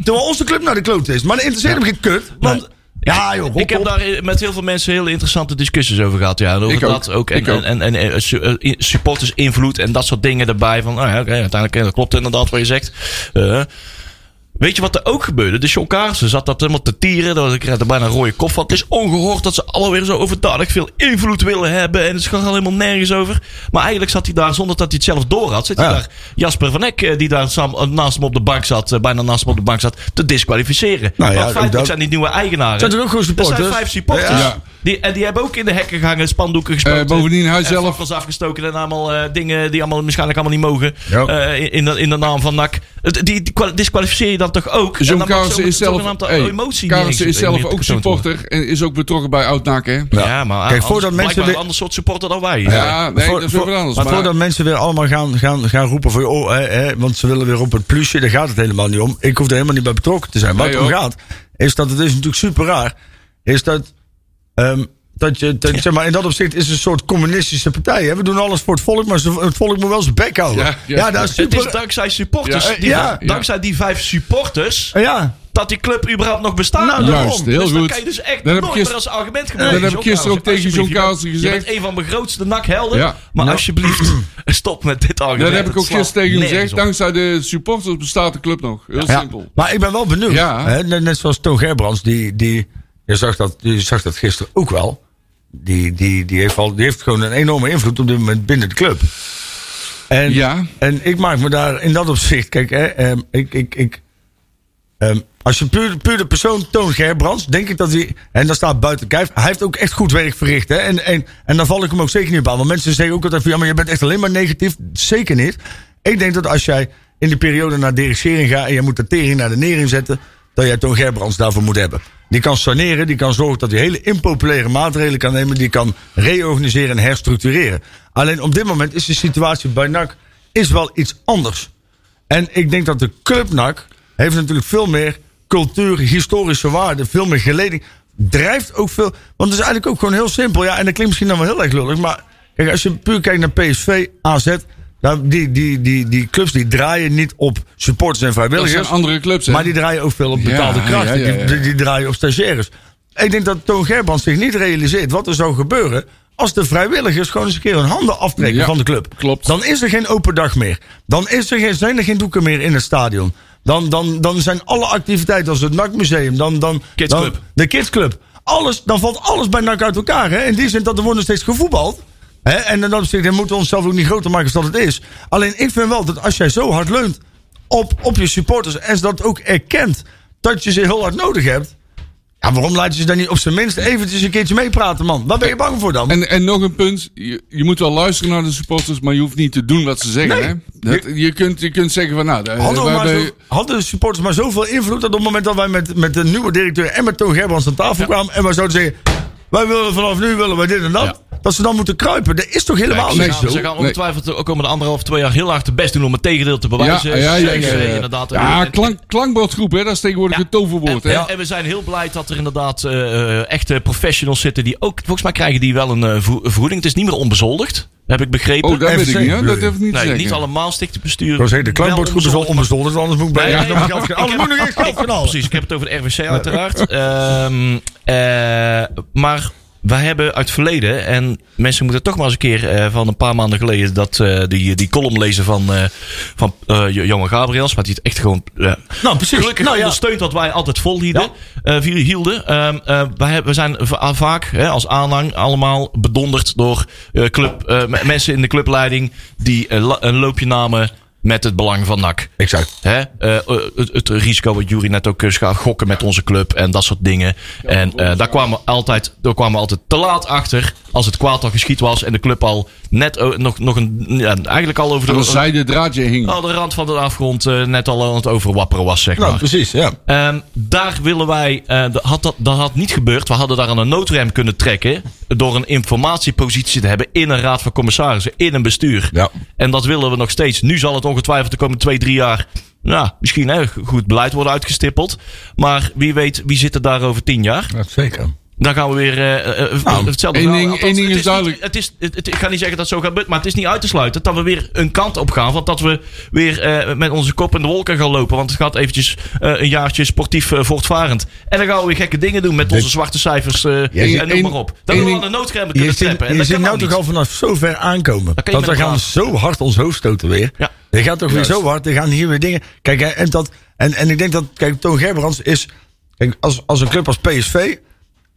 Speaker 3: Terwijl onze club naar de klote is. Maar dat interesseert hem geen kut. Want, ja joh,
Speaker 2: Ik heb
Speaker 3: daar
Speaker 2: daar eh, met heel veel mensen hele interessante discussies over gehad. Ja, over
Speaker 4: Ik ook.
Speaker 2: dat ook. En,
Speaker 4: Ik ook.
Speaker 2: en, en, en, eh, su- eh, in- supporters oh invloed en dat soort dingen erbij. Van, nou ja, oké, uiteindelijk eh, dat klopt inderdaad wat je zegt. Eh, Weet je wat er ook gebeurde? De Sean Kaarsen zat dat helemaal te tieren. Dat kreeg er bijna een rode kop van. Het is ongehoord dat ze alweer zo overdadig veel invloed willen hebben. En het gaat al helemaal nergens over. Maar eigenlijk zat hij daar, zonder dat hij het zelf door had, zit hij
Speaker 4: Ah.
Speaker 3: Ja.
Speaker 2: daar Jasper van Eck, eh, die daar samen, naast hem op de bank zat, eh, bijna naast hem op de bank zat, te disqualificeren.
Speaker 3: Nou
Speaker 2: Want
Speaker 3: ja, ook
Speaker 2: feitelijk
Speaker 3: dat-
Speaker 2: zijn die nieuwe eigenaren.
Speaker 3: Zijn er
Speaker 4: Eh,
Speaker 3: ook gewoon supporters?
Speaker 2: Dat zijn vijf supporters.
Speaker 4: Ja.
Speaker 2: Die, en die hebben ook in de hekken gehangen, spandoeken gespeeld.
Speaker 4: Eh, bovendien, hij
Speaker 2: en
Speaker 4: zelf-
Speaker 2: fakkels afgestoken en allemaal eh, dingen die allemaal waarschijnlijk allemaal niet mogen.
Speaker 3: Ja.
Speaker 2: eh, in- in, de, in de naam van NAC. Het- Die, die kwa- disqualificeer je dan toch ook? En dan
Speaker 4: Zo'n
Speaker 2: mag
Speaker 4: Karelsen
Speaker 2: zo'n-
Speaker 4: is zelf,
Speaker 2: zogenaamd de
Speaker 4: hey,
Speaker 2: emotie
Speaker 4: Karelsen
Speaker 2: niet
Speaker 4: is
Speaker 2: eens-
Speaker 4: zelf
Speaker 2: niet
Speaker 4: ook
Speaker 2: getoond worden.
Speaker 4: supporter en is ook betrokken bij Oud-NAC, hè?
Speaker 2: Ja, maar
Speaker 3: Kijk,
Speaker 2: Kijk,
Speaker 3: voordat
Speaker 2: anders,
Speaker 3: mensen
Speaker 2: mensen
Speaker 3: weer-
Speaker 2: een ander soort supporter dan wij.
Speaker 4: Ja, nee, dat is
Speaker 3: voor-
Speaker 4: weer wat anders.
Speaker 3: Maar,
Speaker 4: Maar,
Speaker 3: voordat mensen weer allemaal gaan, gaan, gaan roepen van... Oh, hè, hè, want ze willen weer op het plusje. Daar gaat het helemaal niet om. Ik hoef er helemaal niet bij betrokken te zijn. Waar
Speaker 4: Nee,
Speaker 3: het om
Speaker 4: joh.
Speaker 3: gaat, is dat het is natuurlijk super raar. Is dat... ehm, dat je, dat, zeg maar, in dat opzicht is het een soort communistische partij. Hè? We doen alles voor het volk, maar ze- het volk moet wel zijn bek houden. Ja,
Speaker 4: Ja, ja.
Speaker 3: dat is
Speaker 2: Het
Speaker 3: super.
Speaker 2: is dankzij supporters.
Speaker 4: Ja,
Speaker 2: die,
Speaker 3: ja,
Speaker 4: ja.
Speaker 2: Dankzij die vijf supporters.
Speaker 3: ja,
Speaker 2: dat die club überhaupt nog bestaat.
Speaker 3: Nou,
Speaker 2: daarom.
Speaker 4: juist, heel
Speaker 2: dus dan
Speaker 4: goed.
Speaker 2: kan je dus echt
Speaker 4: Dat heb
Speaker 2: nooit
Speaker 4: ik gister-
Speaker 2: meer als argument gebruiken.
Speaker 4: dat heb ik gisteren ook
Speaker 2: John
Speaker 4: tegen John
Speaker 2: Alsjeblieft,
Speaker 4: Carlsen
Speaker 2: je bent-
Speaker 4: gezegd.
Speaker 2: Je bent een van mijn grootste nakhelden.
Speaker 4: Ja.
Speaker 2: Maar
Speaker 3: Ja.
Speaker 2: alsjeblieft, stop met dit argument.
Speaker 4: dat heb ik
Speaker 2: Het
Speaker 4: ook
Speaker 2: slaat
Speaker 4: gisteren tegen hem
Speaker 2: nergens
Speaker 4: gezegd.
Speaker 2: op.
Speaker 4: Dankzij de supporters bestaat de club nog. Heel
Speaker 3: ja.
Speaker 4: simpel.
Speaker 3: Maar ik ben wel benieuwd.
Speaker 4: Ja.
Speaker 3: Hè? Net, net zoals Toon Gerbrands, die, die, je, zag dat, je zag dat gisteren ook wel. Die, die, die, heeft al, die heeft gewoon een enorme invloed op dit moment binnen de club. En,
Speaker 4: Ja.
Speaker 3: en ik maak me daar in dat opzicht. Kijk, hè, ehm, ik, ik, ik, ehm, als je puur, puur de persoon Toon Gerbrands, denk ik dat hij. En dat staat buiten kijf. Hij heeft ook echt goed werk verricht. Hè? En, en, en daar val ik hem ook zeker niet op aan. Want mensen zeggen ook altijd van ja, maar je bent echt alleen maar negatief. Zeker niet. Ik denk dat als jij in die periode naar dirigering gaat en je moet de tering naar de nering zetten, dat jij Toon Gerbrands daarvoor moet hebben. Die kan saneren, die kan zorgen dat hij hele impopulaire maatregelen kan nemen, die kan reorganiseren en herstructureren. Alleen op dit moment is de situatie bij NAC is wel iets anders. En ik denk dat de clubnak heeft natuurlijk veel meer cultuur, historische waarde, veel meer geleding. Drijft ook veel. Want het is eigenlijk ook gewoon heel simpel. Ja, en dat klinkt misschien dan wel heel erg lullig. Maar kijk, als je puur kijkt naar PSV, AZ. nou, die, die, die, die clubs die draaien niet op supporters en
Speaker 4: Dat
Speaker 3: vrijwilligers.
Speaker 4: zijn andere clubs, hè?
Speaker 3: Maar die draaien ook veel op betaalde
Speaker 4: Ja,
Speaker 3: krachten.
Speaker 4: ja, ja, ja.
Speaker 3: Die, die draaien op stagiaires. Ik denk dat Toon Gerbrands zich niet realiseert wat er zou gebeuren. als de vrijwilligers gewoon eens een keer hun handen aftrekken
Speaker 4: Ja,
Speaker 3: van de club.
Speaker 4: klopt.
Speaker 3: Dan is er geen open dag meer. Dan is er geen, zijn er geen doeken meer in het stadion. Dan, dan, dan zijn alle activiteiten als het NAC-museum. Dan, dan,
Speaker 2: Kidsclub.
Speaker 3: dan- de Kidsclub. Alles, dan valt alles bij NAC uit elkaar. Hè? In die zin dat er wordt nog steeds gevoetbald. Hè? En in dat opzicht dan moeten we onszelf ook niet groter maken dan het is. Alleen ik vind wel dat als jij zo hard leunt op, op je supporters... en dat ook erkent dat je ze heel hard nodig hebt... Ja, waarom laat je ze dan niet op zijn minst eventjes een keertje meepraten, man? Waar ben je bang voor dan?
Speaker 4: En, en nog een punt. Je, je moet wel luisteren naar de supporters, maar je hoeft niet te doen wat ze zeggen,
Speaker 3: Nee.
Speaker 4: hè? Dat, je, kunt, je kunt zeggen van, nou... daar-
Speaker 2: Eh,
Speaker 3: Hadden, we
Speaker 4: wij-
Speaker 3: maar
Speaker 4: wij-
Speaker 3: zo- hadden de supporters maar zoveel invloed dat op het moment dat wij met, met de nieuwe directeur en met Toon Gerbrands aan tafel kwamen en wij zouden zeggen, wij willen vanaf nu willen wij dit en dat, dat ze dan moeten kruipen. Dat is toch helemaal
Speaker 2: Ze
Speaker 3: niet
Speaker 2: gaan,
Speaker 3: zo?
Speaker 2: ze gaan ongetwijfeld ook komende anderhalf, twee jaar heel hard hun best doen om het tegendeel te
Speaker 4: ja,
Speaker 2: bewijzen.
Speaker 4: ja, ja, ja,
Speaker 2: Zeker, eh,
Speaker 4: ja.
Speaker 2: inderdaad.
Speaker 4: Ja,
Speaker 2: En-
Speaker 4: klank, klankbordgroep, hè? Dat is tegenwoordig
Speaker 2: Ja.
Speaker 4: het toverwoord,
Speaker 2: en,
Speaker 4: hè?
Speaker 2: en- en we zijn heel blij dat er inderdaad eh, eh, echte professionals zitten die ook, volgens mij krijgen die wel een eh, vo- vergoeding. Het is niet meer onbezoldigd, heb ik begrepen.
Speaker 4: Oh, dat weet ik
Speaker 3: FC
Speaker 4: niet, hè?
Speaker 3: bedoel
Speaker 4: Dat
Speaker 3: je?
Speaker 4: durf ik niet te
Speaker 2: nee,
Speaker 4: zeggen.
Speaker 2: niet allemaal stichtingbestuur.
Speaker 3: Zo zeggen, de klankbordgroep is al
Speaker 2: wel
Speaker 3: onbezonderd, anders moet ik bij
Speaker 2: Nee,
Speaker 3: ja,
Speaker 2: nee,
Speaker 3: nog
Speaker 2: ik-
Speaker 3: geld
Speaker 2: ik
Speaker 3: Anders
Speaker 2: heb- Oh,
Speaker 3: moet ik nog eens geld van alles.
Speaker 2: Precies, ik heb het over de RWC uiteraard. Ehm, eh, maar wij hebben uit het verleden, en mensen moeten toch maar eens een keer eh, van een paar maanden geleden dat, eh, die, die column lezen van, eh, van eh, Jo- Johan Gabriels, wat hij het echt gewoon eh,
Speaker 3: Nou, precies.
Speaker 2: gelukkig
Speaker 3: nou, ja.
Speaker 2: ondersteunt wat wij altijd volhielden. eh, vi- hielden. Ehm, eh, wij, hebben- we zijn va- vaak hè, als aanhang allemaal bedonderd door eh, club, eh, m- mensen in de clubleiding die eh, la- een loopje namen met het belang van NAC.
Speaker 3: Exact.
Speaker 2: Hè? eh, eh, het, het risico wat Jury net ook eh, gaat gokken met onze club en dat soort dingen. en eh, daar, kwamen we altijd, daar kwamen we altijd te laat achter als het kwaad al geschiet was en de club al net eh, nog, nog een, ja, eigenlijk al over de,
Speaker 4: Als zij de draadje hing.
Speaker 2: al de rand van de afgrond eh, net al aan het overwapperen was, zeg
Speaker 3: Nou,
Speaker 2: maar.
Speaker 3: precies, ja.
Speaker 2: Ehm, daar willen wij, eh, dat, had dat, dat had niet gebeurd. We hadden daar aan een noodrem kunnen trekken. Door een informatiepositie te hebben in een raad van commissarissen, in een bestuur.
Speaker 3: Ja.
Speaker 2: En dat willen we nog steeds. Nu zal het ongetwijfeld de komende twee, drie jaar. Nou, misschien hè, goed beleid worden uitgestippeld. Maar wie weet, wie zit er daar over tien jaar?
Speaker 3: Ja, zeker.
Speaker 2: Dan gaan we weer eh, eh, eh, hetzelfde
Speaker 4: één
Speaker 2: verhaal.
Speaker 4: ding-
Speaker 2: Althans,
Speaker 4: één ding
Speaker 2: het
Speaker 4: is
Speaker 2: niet-
Speaker 4: duidelijk.
Speaker 2: het is, het, het- ik ga niet zeggen dat het zo gaat gebeuren, maar het is niet uit te sluiten dat we weer een kant op gaan. Want dat we weer eh, met onze kop in de wolken gaan lopen. Want het gaat eventjes eh, een jaartje sportief eh, voortvarend. En dan gaan we weer gekke dingen doen met onze zwarte cijfers eh,
Speaker 4: ziet
Speaker 2: en noem
Speaker 4: één-
Speaker 2: maar op. Dan willen
Speaker 4: één
Speaker 2: we
Speaker 4: ding-
Speaker 2: aan de noodremmen
Speaker 3: Je
Speaker 2: kunnen
Speaker 3: zit,
Speaker 2: treppen. En
Speaker 3: je
Speaker 2: dat
Speaker 3: zit
Speaker 2: kan
Speaker 3: nou
Speaker 2: nou
Speaker 3: toch al vanaf zo ver aankomen.
Speaker 2: kan je
Speaker 3: Dat
Speaker 2: met
Speaker 3: we
Speaker 2: elkaar.
Speaker 3: gaan zo hard ons hoofd stoten weer.
Speaker 2: Ja.
Speaker 3: Er gaat toch weer zo hard. Er gaan hier weer dingen. Kijk, hè, en dat, En, en ik denk dat, kijk, Toon Gerbrands is, kijk, als, als een club als PSV,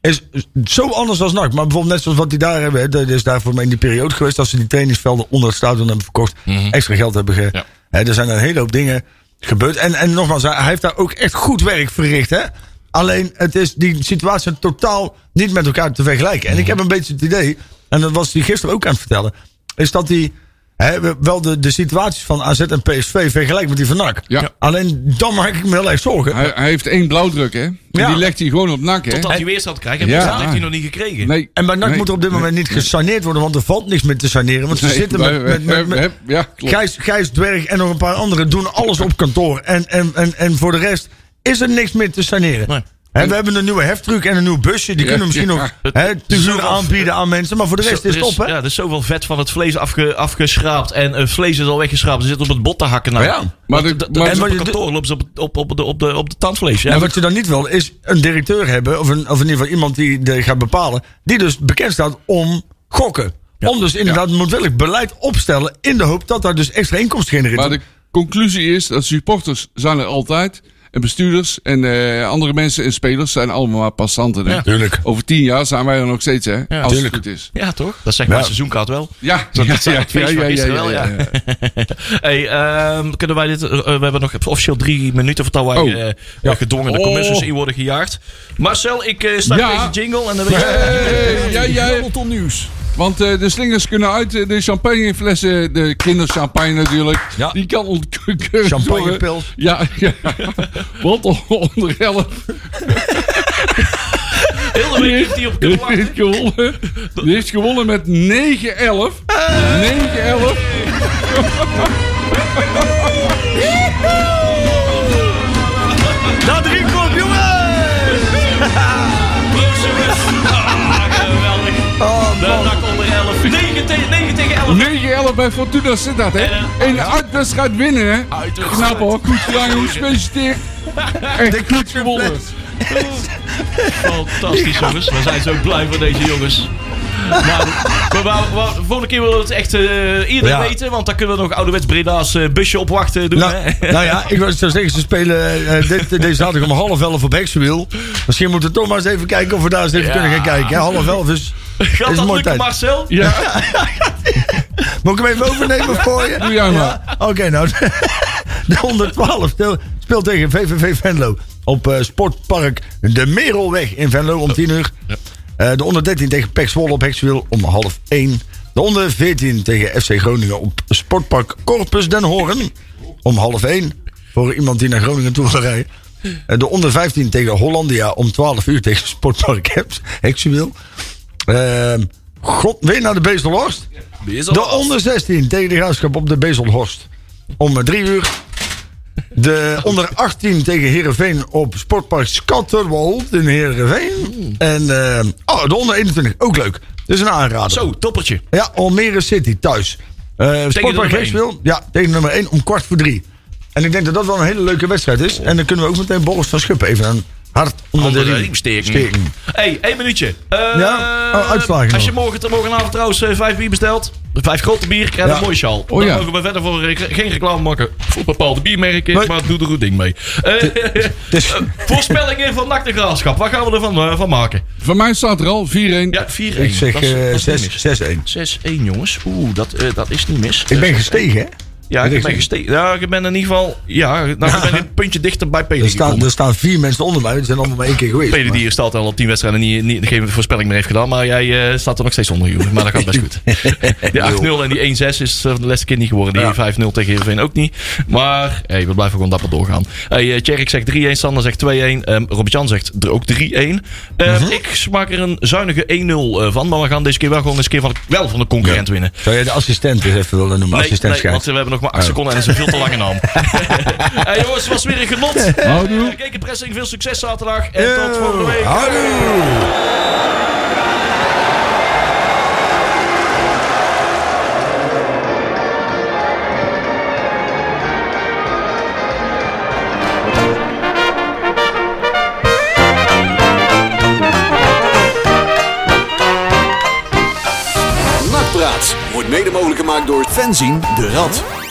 Speaker 3: is zo anders als NAC. Maar bijvoorbeeld net zoals wat die daar hebben, hè, dat is daar voor mij in die periode geweest, als ze die trainingsvelden onder het stadion hebben verkocht, extra geld hebben ge...
Speaker 2: Ja.
Speaker 3: Hè, er zijn een hele hoop dingen gebeurd. En, en nogmaals, hij hij heeft daar ook echt goed werk verricht, hè. Alleen, het is die situatie totaal niet met elkaar te vergelijken. En ik heb een beetje het idee, en dat was hij gisteren ook aan het vertellen, is dat die hè, we- wel de, de situaties van AZ en PSV vergelijkt met die van NAC.
Speaker 4: Ja.
Speaker 3: Alleen dan maak ik me heel erg zorgen.
Speaker 4: Hij, hij heeft één blauwdruk, hè? En
Speaker 3: Ja.
Speaker 4: Die legt hij gewoon op nak, hè?
Speaker 2: Totdat hij weerstand krijgt. En
Speaker 4: Ja.
Speaker 2: weerstand heeft hij nog niet gekregen.
Speaker 4: Nee.
Speaker 3: en bij NAC
Speaker 4: Nee.
Speaker 3: moet er op dit moment niet gesaneerd worden, want er valt niks meer te saneren. Want ze
Speaker 4: Nee,
Speaker 3: zitten
Speaker 4: wij-
Speaker 3: met,
Speaker 4: wij-
Speaker 3: met, met,
Speaker 4: wij-
Speaker 3: met-
Speaker 4: wij- ja, klopt.
Speaker 3: Gijs, Gijs Dwerg en nog een paar anderen doen alles op kantoor. En, en, en, en voor de rest is er niks meer te saneren.
Speaker 2: Nee.
Speaker 3: Hè, we hebben een nieuwe heftruck en een nieuw busje. Die
Speaker 4: Ja,
Speaker 3: kunnen we misschien
Speaker 4: ja.
Speaker 3: nog hè, te huur
Speaker 2: Zoveel-
Speaker 3: aanbieden aan mensen. Maar voor de rest
Speaker 2: Zo-
Speaker 3: is
Speaker 2: er
Speaker 3: het op, hè?
Speaker 2: Dus Ja, er is zoveel vet van het vlees afge, afgeschraapt. En eh, vlees is al weggeschraapt. Ze zitten op het bot te hakken. Nou.
Speaker 3: Oh Ja,
Speaker 4: maar de-
Speaker 2: Want dat- dat
Speaker 4: maar-
Speaker 2: is op
Speaker 3: maar
Speaker 2: het
Speaker 3: je-
Speaker 2: kantoor lopen ze op, het- op, op, de, op, de, op de tandvlees. Ja,
Speaker 3: En wat je dan niet wil, is een directeur hebben, of, een, of in ieder geval iemand die de gaat bepalen, die dus bekend staat om gokken. Om dus inderdaad moedwillig beleid opstellen in de hoop dat daar dus extra inkomsten genereert.
Speaker 4: Maar de conclusie is dat supporters zijn er altijd. En bestuurders en eh, andere mensen en spelers zijn allemaal maar passanten. hè.
Speaker 2: Ja.
Speaker 3: Tuurlijk.
Speaker 4: Over tien jaar zijn wij er nog steeds, hè? als
Speaker 2: tuurlijk.
Speaker 4: het goed is.
Speaker 2: Ja, toch? Dat zegt mijn seizoenkaart wel.
Speaker 4: Ja,
Speaker 2: Dat
Speaker 4: ja,
Speaker 2: is het feest van gisteren wel, ja. Hey, ehm, kunnen wij dit... eh, we hebben nog officieel drie minuten voordat wij eh,
Speaker 4: Oh.
Speaker 2: gedwongen de
Speaker 4: Oh.
Speaker 2: commercials in worden gejaagd. Marcel, ik eh start
Speaker 4: Ja.
Speaker 2: deze jingle en dan weet je...
Speaker 4: Hey, ja, ja,
Speaker 6: Hamilton Nieuws.
Speaker 4: want eh, de slingers kunnen uit, eh, de champagneflessen, eh, de kinderchampagne natuurlijk,
Speaker 3: Ja.
Speaker 4: die kan ontkurken.
Speaker 3: Champagnepils.
Speaker 4: Ja, ja. want on- onder 11
Speaker 2: Heel de week heeft hij op kunnen wachten.
Speaker 4: heeft gewonnen, die heeft gewonnen met 9-11. 9-11.
Speaker 3: dat drie komt, jongens!
Speaker 2: Ah, geweldig. De dak onder 11. 9 tegen, 9 tegen 11.
Speaker 4: 9-11 bij Fortuna Sittard, hè? En Atlas gaat winnen, hè? Knap hoor, goed gedaan, jongens. Gefeliciteerd. Echt goed gewonnen.
Speaker 2: Fantastisch, jongens. We zijn zo blij voor deze jongens. Nou, we wou- wou- de volgende keer willen we het echt eh, eerder
Speaker 3: Ja.
Speaker 2: weten. Want dan kunnen we nog ouderwets Breda's eh, busje opwachten doen.
Speaker 3: Nou,
Speaker 2: hè?
Speaker 3: nou ja, ik wil zo zeggen, ze spelen eh, dit, deze zaterdag om half elf op Hexenwiel. Misschien moeten we toch maar eens even kijken of we daar eens even
Speaker 2: Ja.
Speaker 3: kunnen gaan kijken. Hè? Half elf is, is
Speaker 2: Gaat
Speaker 3: een
Speaker 2: dat
Speaker 3: mooie
Speaker 2: lukken,
Speaker 3: tijd.
Speaker 2: Marcel?
Speaker 4: Ja,
Speaker 3: Moet ik hem even overnemen voor je?
Speaker 4: doe jij maar.
Speaker 3: Oké, nou. De 112 speel- speelt tegen VVV Venlo. Op eh, Sportpark De Merelweg in Venlo om 10 uur. Eh, de onder 13 tegen PEC Zwolle op Hexwiel om half 1. De onder 14 tegen FC Groningen op Sportpark Corpus Den Hoorn om half 1. Voor iemand die naar Groningen toe wil rijden. Eh, de onder 15 tegen Hollandia om 12 uur tegen Sportpark Hex- Hexwiel. Ehm, God, weer naar de Beestelhorst. De onder 16 tegen de graafschap op de Bezelhorst. Om eh, drie uur. De onder 18 tegen Heerenveen op Sportpark Scatterwold in Heerenveen. En eh, oh, de onder 21, ook leuk. Dit is een aanrader.
Speaker 2: Zo, toppertje.
Speaker 3: Ja, Almere City thuis. Eh, Sportpark
Speaker 2: nummer één.
Speaker 3: Geestwil, ja, tegen nummer 1 om kwart voor drie. En ik denk dat dat wel een hele leuke wedstrijd is. En dan kunnen we ook meteen Boris van Schuppen even een hart onder de
Speaker 2: Onder de
Speaker 3: riem
Speaker 2: riem steken.
Speaker 3: steken.
Speaker 2: hey, één minuutje. Eh,
Speaker 3: Ja? Oh, uitslagen
Speaker 2: Als je
Speaker 3: nog.
Speaker 2: morgen, morgenavond trouwens eh, vijf bier bestelt. Vijf grote bier, krijg je
Speaker 3: Ja.
Speaker 2: een mooi sjaal.
Speaker 4: Oh,
Speaker 2: Dan
Speaker 4: ja.
Speaker 2: mogen we verder voor eh, geen reclame maken voor bepaalde biermerken.
Speaker 3: Nee.
Speaker 2: Maar doe er goed ding mee. Eh,
Speaker 3: is-
Speaker 2: eh, voorspellingen van Nacht en Graafschap. Wat gaan we ervan eh, van maken?
Speaker 4: Van mij staat er al 4-1.
Speaker 2: Ja, 4-1.
Speaker 3: Ik zeg
Speaker 2: Dat is- dat
Speaker 3: eh,
Speaker 2: is niet mis.
Speaker 3: zes- 6-1.
Speaker 2: 6-1 jongens. Oeh, dat, eh, dat is niet mis.
Speaker 3: Ik ben gestegen, hè?
Speaker 2: ja, ik ben gestegen. Ja, ik ben in ieder geval. Ja, nou, ik ben een puntje dichter bij Peli.
Speaker 3: Er staan, er staan vier mensen onder mij. Die zijn allemaal maar één keer geweest.
Speaker 2: Peli
Speaker 3: maar-
Speaker 2: die staat al op 10 wedstrijden niet, niet, geen voorspelling meer heeft gedaan. Maar jij eh, staat er nog steeds onder, jongen. Maar dat gaat best goed. Die 8-0 en die 1-6 is eh, de laatste keer niet geworden. Die 5-0 tegen Heerenveen ook niet. Maar hey, we blijven gewoon dapper doorgaan. Hey, eh Tjerk zegt 3-1, Sander zegt 2-1. ehm Robert-Jan zegt er ook 3-1. Ehm, Ik smaak er een zuinige 1-0 eh, van. Maar we gaan deze keer wel gewoon eens een keer van, wel van de concurrent winnen.
Speaker 3: Zou jij de assistent eens even willen noemen?
Speaker 2: Nee,
Speaker 3: assistent
Speaker 2: nee, want we hebben nog maar 8 seconden en dat is een veel te lange naam. hey, jongens, het was weer een genot.
Speaker 4: Houdoe.
Speaker 2: Kijk, de pressing, veel succes zaterdag. En eh, tot volgende week.
Speaker 3: Houdoe!
Speaker 1: Nakpraat wordt mede mogelijk gemaakt door fanzine de Rad.